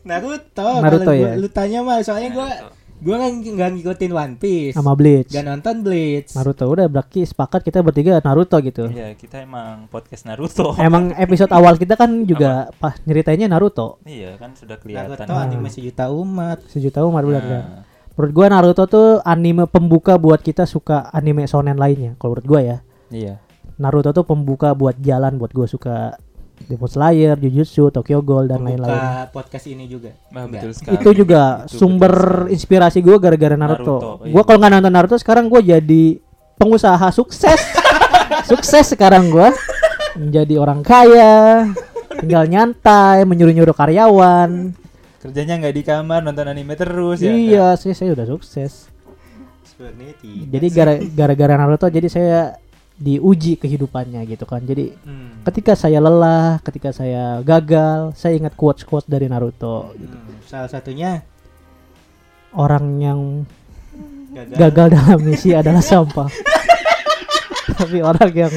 Naruto. Naruto Kalau ya? gua- Lu tanya mah soalnya gua Gue kan nggak ngikutin One Piece. sama Bleach. Gak nonton Bleach. Naruto udah berarti sepakat kita bertiga Naruto gitu. Iya, kita emang podcast Naruto. Emang episode awal kita kan juga pas nyeritainnya Naruto. Iya, kan sudah kelihatan. Naruto anime sejuta umat. Sejuta umat benar kan. Nah, Menurut gua Naruto tuh anime pembuka buat kita suka anime shonen lainnya. Kalau menurut gua ya. Iya. Naruto tuh pembuka buat jalan buat gua suka Demon Slayer, Jujutsu, Tokyo Ghoul dan lain-lain. Pembuka podcast ini juga. Nah, Nggak. betul sekali. Itu juga Itu sumber betul sekali. inspirasi gua gara-gara Naruto, Naruto. iya. Gua kalau nggak nonton Naruto sekarang gua jadi pengusaha sukses. sukses sekarang gua menjadi orang kaya, tinggal nyantai, menyuruh-nyuruh karyawan. Kerjanya nggak di kamar, nonton anime terus ya. kan? iya, sih saya udah sukses. Sebenarnya tidak. Jadi gara- gara-gara Naruto jadi saya diuji kehidupannya gitu kan. Jadi Hmm. ketika saya lelah, ketika saya gagal, saya ingat quotes-quotes dari Naruto. Hmm, Salah satunya Orang yang gagal. gagal dalam misi adalah sampah. Tapi orang yang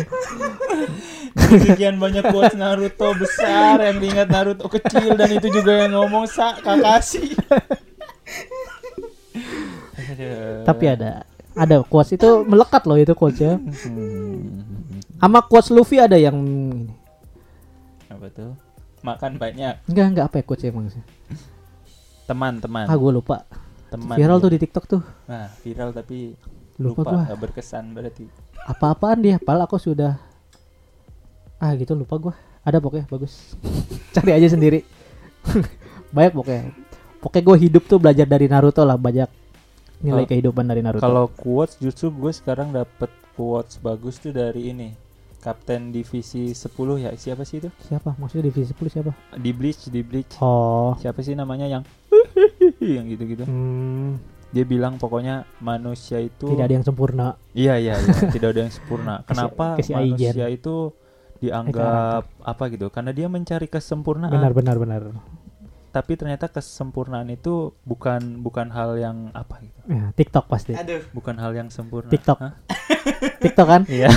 Sekian banyak quotes Naruto besar yang diingat Naruto kecil dan itu juga yang ngomong sa Kakashi. Aduh. tapi ada ada quotes itu melekat loh itu quotes ya. Hmm, Sama quotes Luffy ada yang apa tuh? Makan banyak. enggak enggak apa ya quotes emang sih. Teman-teman. Ah gue lupa. Teman. Viral tuh di TikTok tuh. Nah, viral tapi Lupa lupa, gua. nggak berkesan berarti. Apa-apaan dia, pal aku sudah Ah gitu lupa gua. Ada pokoknya bagus. Cari aja sendiri. Banyak pokoknya. Pokoknya gue hidup tuh belajar dari Naruto lah banyak nilai Kalau- kehidupan dari Naruto. Oh. Kalau quotes justru gue sekarang dapet quotes bagus tuh dari ini. Kapten divisi 10 ya. Siapa sih itu? siapa? Maksudnya divisi 10 siapa? Di Bleach, di Bleach. Oh. Siapa sih namanya yang yang gitu-gitu. Hmm, Dia bilang pokoknya manusia itu tidak ada yang sempurna. Iya, iya, iya, tidak ada yang sempurna. Kenapa kasih manusia agen. itu dianggap apa gitu? Karena dia mencari kesempurnaan. Benar benar benar. Tapi ternyata kesempurnaan itu bukan bukan hal yang apa gitu. Ya, TikTok pasti. Aduh. Bukan hal yang sempurna. TikTok. Hah? TikTok kan? Iya.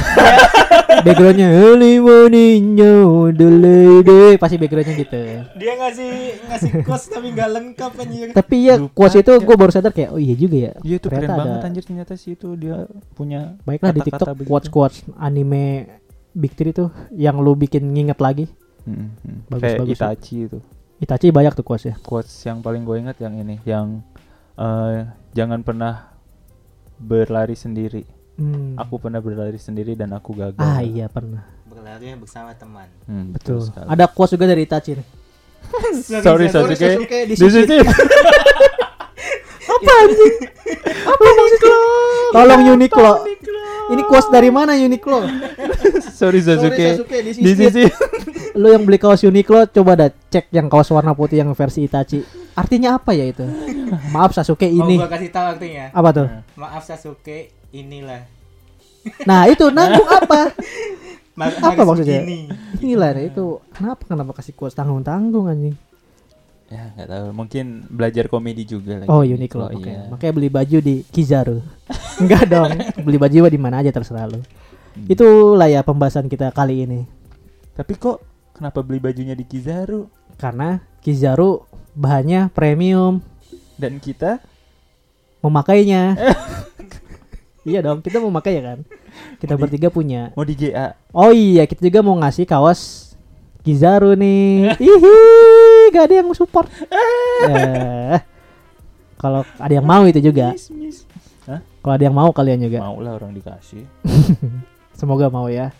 backgroundnya Holy morning, yo, the lady. Pasti backgroundnya gitu. Dia ngasih ngasih kos tapi nggak lengkap anjir. Tapi ya Lupa quotes itu aja. gue baru sadar kayak oh iya juga ya. Iya itu keren Ternyata banget ada- anjir ternyata sih itu dia punya Baiklah di kata-kata TikTok begitu. quotes quotes anime Big Three tuh yang lu bikin nginget lagi. Mm, mm. Bagus, Kayak bagus. Itachi itu. Itachi banyak tuh quotes ya. Quotes yang paling gue ingat yang ini yang eh, jangan pernah berlari sendiri. Hmm. Aku pernah berlari sendiri dan aku gagal. Ah iya pernah. Berlari ya bersama teman. Hmm, Betul. sekali. Ada quotes juga dari Itachi nih. Sorry, Sasuke. di This is it. Apa anjing? Apa maksud lu? Tolong Uniqlo. Ini quotes dari mana Uniqlo? Sorry Sasuke. This is it. Lu yang beli kaos Uniqlo coba dah cek yang kaos warna putih yang versi Itachi. Artinya apa ya itu? Maaf Sasuke ini. Ini. Mau Oh, gua Nah. kasih tahu artinya. Apa tuh? Maaf Sasuke, inilah. Nah, itu nanggung apa? Mar- Apa harus maksudnya? begini. Inilah ya, itu kenapa kenapa kasih quotes tanggung-tanggung anjing. Ya nggak tahu. Mungkin belajar komedi juga lagi. Oh, Uniqlo. Oh, Oke. iya. Makanya beli baju di Kizaru. Enggak dong. beli baju mah di mana aja terserah lu. Itulah ya pembahasan kita kali ini. Tapi kok kenapa beli bajunya di Kizaru Karena Kizaru bahannya premium, dan kita memakainya. iya dong, kita memakai ya kan. Kita bertiga punya. mau di GA? Oh iya, kita juga mau ngasih kaos Kizaru nih. Ihi, gak ada yang support. Eh, Kalau ada yang mau itu juga. Miss, miss. Hah? Kalau ada yang mau kalian juga. Mau lah orang dikasih. Semoga mau ya.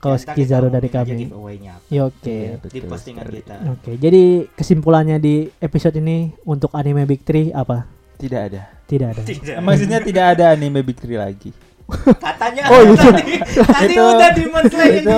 Kaos Ntar kita Kizaru dari umumin aja kami. giveaway-nya apa. Ya, Oke. Iya. Di postingan kita. Oke, jadi kesimpulannya di episode ini untuk anime Big Three apa? Tidak ada. Eh, Tidak ada. Tidak. Maksudnya tidak ada anime Big Three lagi. Katanya Oh, iya. tadi, tadi Itu- udah di Slayer Itu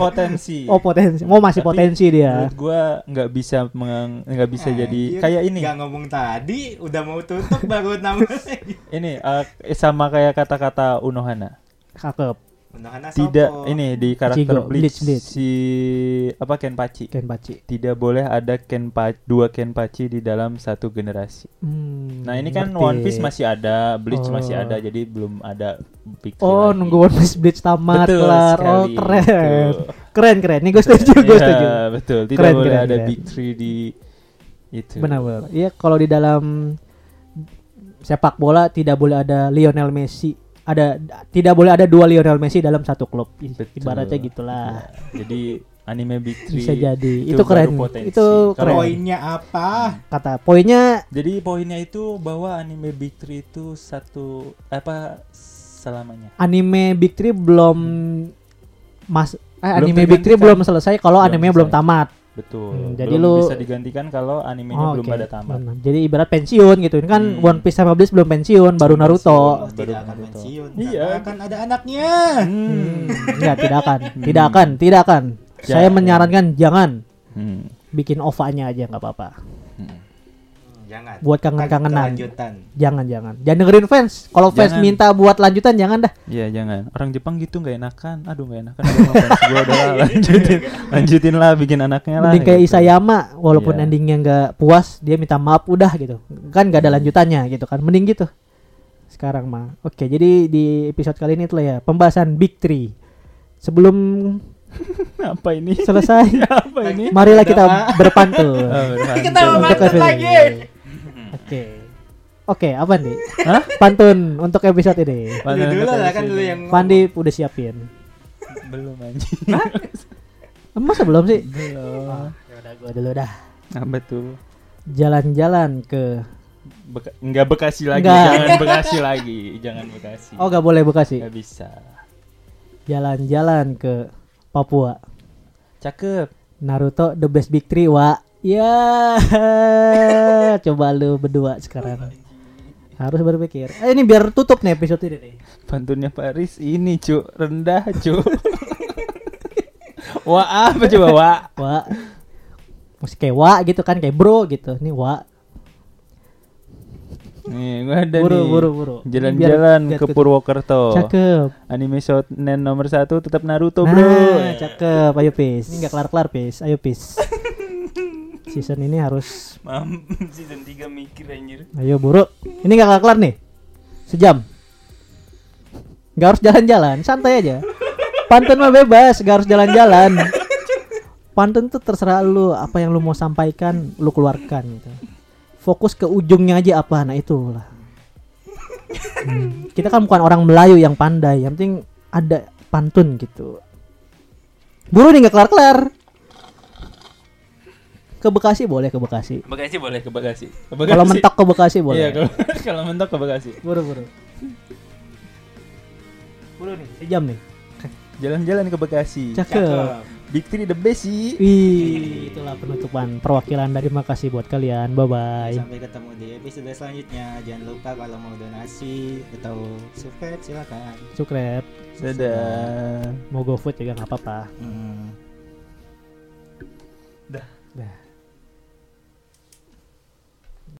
potensi. Oh, ya. potensi. Mau masih Tapi potensi dia. Menurut gua nggak bisa meng- nggak bisa jadi Anjir, kayak ini. nggak ngomong tadi, udah mau tutup baru nambah lagi. Ini eh, sama kayak kata-kata Unohana. Cakep. Unohana tidak Sopo. ini di karakter Ichigo, Bleach, Bleach, Bleach. si apa Kenpachi. Kenpachi. Tidak boleh ada Kenpa dua Kenpachi di dalam satu generasi. Hmm, Nah, ini kan ngerti. One Piece masih ada, Oh. Bleach masih ada, jadi belum ada Big Three Oh, lagi. nunggu One Piece Bleach tamat Betul kelar. Oh, sekali, keren. betul. Keren, keren. Nih gue setuju, gue Iya, setuju. betul. Tidak Keren, boleh keren, ada keren. Big Three di itu. Benar, benar. Iya, kalau di dalam sepak bola tidak boleh ada Lionel Messi ada tidak boleh ada dua Lionel Messi dalam satu klub I- Betul. Iya. ibaratnya gitulah Jadi anime Big Three bisa jadi itu, itu keren baru potensi. itu Kalau- keren Poinnya apa? kata poinnya Jadi poinnya itu bahwa anime Big Three itu satu apa selamanya. anime Big Three belum mas eh, anime Big Three tergantikan. belum selesai kalau Belum animenya belum selesai. tamat Betul. Hmm, jadi belum lu- bisa digantikan kalau Oh, animenya belum oke. pada tamat. Benar. jadi ibarat pensiun gitu ini kan Hmm. One Piece sama Bleach belum pensiun baru Naruto Oh, tidak akan Naruto. pensiun. Iya. Karena akan ada anaknya. Hmm. Enggak, Iya, tidak akan tidak akan tidak akan saya Jangan. menyarankan jangan Hmm. bikin OVA-nya aja nggak apa-apa Hmm, Jangan. Buat kangen-kangenan. Kan Kelanjutan. jangan jangan jangan dengerin fans kalau fans Jangan. minta buat lanjutan jangan dah Iya jangan. Orang Jepang gitu nggak enakan. Aduh nggak enakan. Aduh, ngefans gua udah lah, lanjutin, lanjutin lah bikin anaknya lah. mending kayak gitu. Isayama walaupun Iya. endingnya nggak puas dia minta maaf udah gitu kan nggak ada Hmm. lanjutannya gitu kan mending gitu sekarang mah oke jadi di episode kali ini itulah ya pembahasan Big Three sebelum Apa ini? selesai Apa ini? marilah kita berpantun Oh, beneran. Ketawa Untuk mantap episode lagi. ini. oke oke apa nih Hah? pantun untuk episode ini Lu Mana- dulu kata lah kan sini. dulu yang Pandi udah siapin belum anjing. masa belum sih Ah, ya Belum. udah gua dulu dah Apa tuh? jalan-jalan ke Beka nggak Bekasi lagi, Nggak. jangan Bekasi lagi, jangan Bekasi. oh gak boleh Bekasi Nggak bisa. jalan-jalan ke Papua. Cakep. Naruto the best big three wa. Ya, coba lu berdua sekarang. Harus berpikir. Eh, ini biar tutup nih episode ini nih. Pantunnya Paris ini, Cuk. Rendah, Cuk. Wah, apa coba, Wah? Wa. Mesti kayak wa gitu kan kayak bro gitu. Ini wa. Nih, gua ada Buru nih. buru buru. Jalan-jalan Biar- ke biar- Purwokerto. Cakep. Anime shonen nomor satu tetap Naruto, Nah, Bro. cakep. Ayo pis. Ini nggak kelar-kelar pis. Ayo pis. Season ini harus Mam, season 3 mikir anjir. Ayo buru. Ini nggak kelar kelar nih. Sejam. Gak harus jalan-jalan, santai aja. Pantun mah bebas, gak harus jalan-jalan. Pantun tuh terserah lu apa yang lu mau sampaikan, lu keluarkan gitu. Fokus ke ujungnya aja apa, nah itulah. Hmm. Kita kan bukan orang Melayu yang pandai, yang penting ada pantun gitu. Buru nih gak kelar-kelar. Ke Bekasi boleh ke Bekasi. Bekasi boleh ke Bekasi. Ke Bekasi. Kalau mentok ke Bekasi boleh. Iya, kalau kalau mentok ke Bekasi. Buru-buru. Buru nih, sejam nih. Jalan-jalan ke Bekasi. Cakep. Big Three the best sih. Wih, itulah penutupan perwakilan dari makasih buat kalian. Bye bye. Sampai ketemu di episode selanjutnya. Jangan lupa kalau mau donasi atau subscribe silakan. Sukret. Dadah. Mau go food juga nggak apa-apa. Hmm. Dah.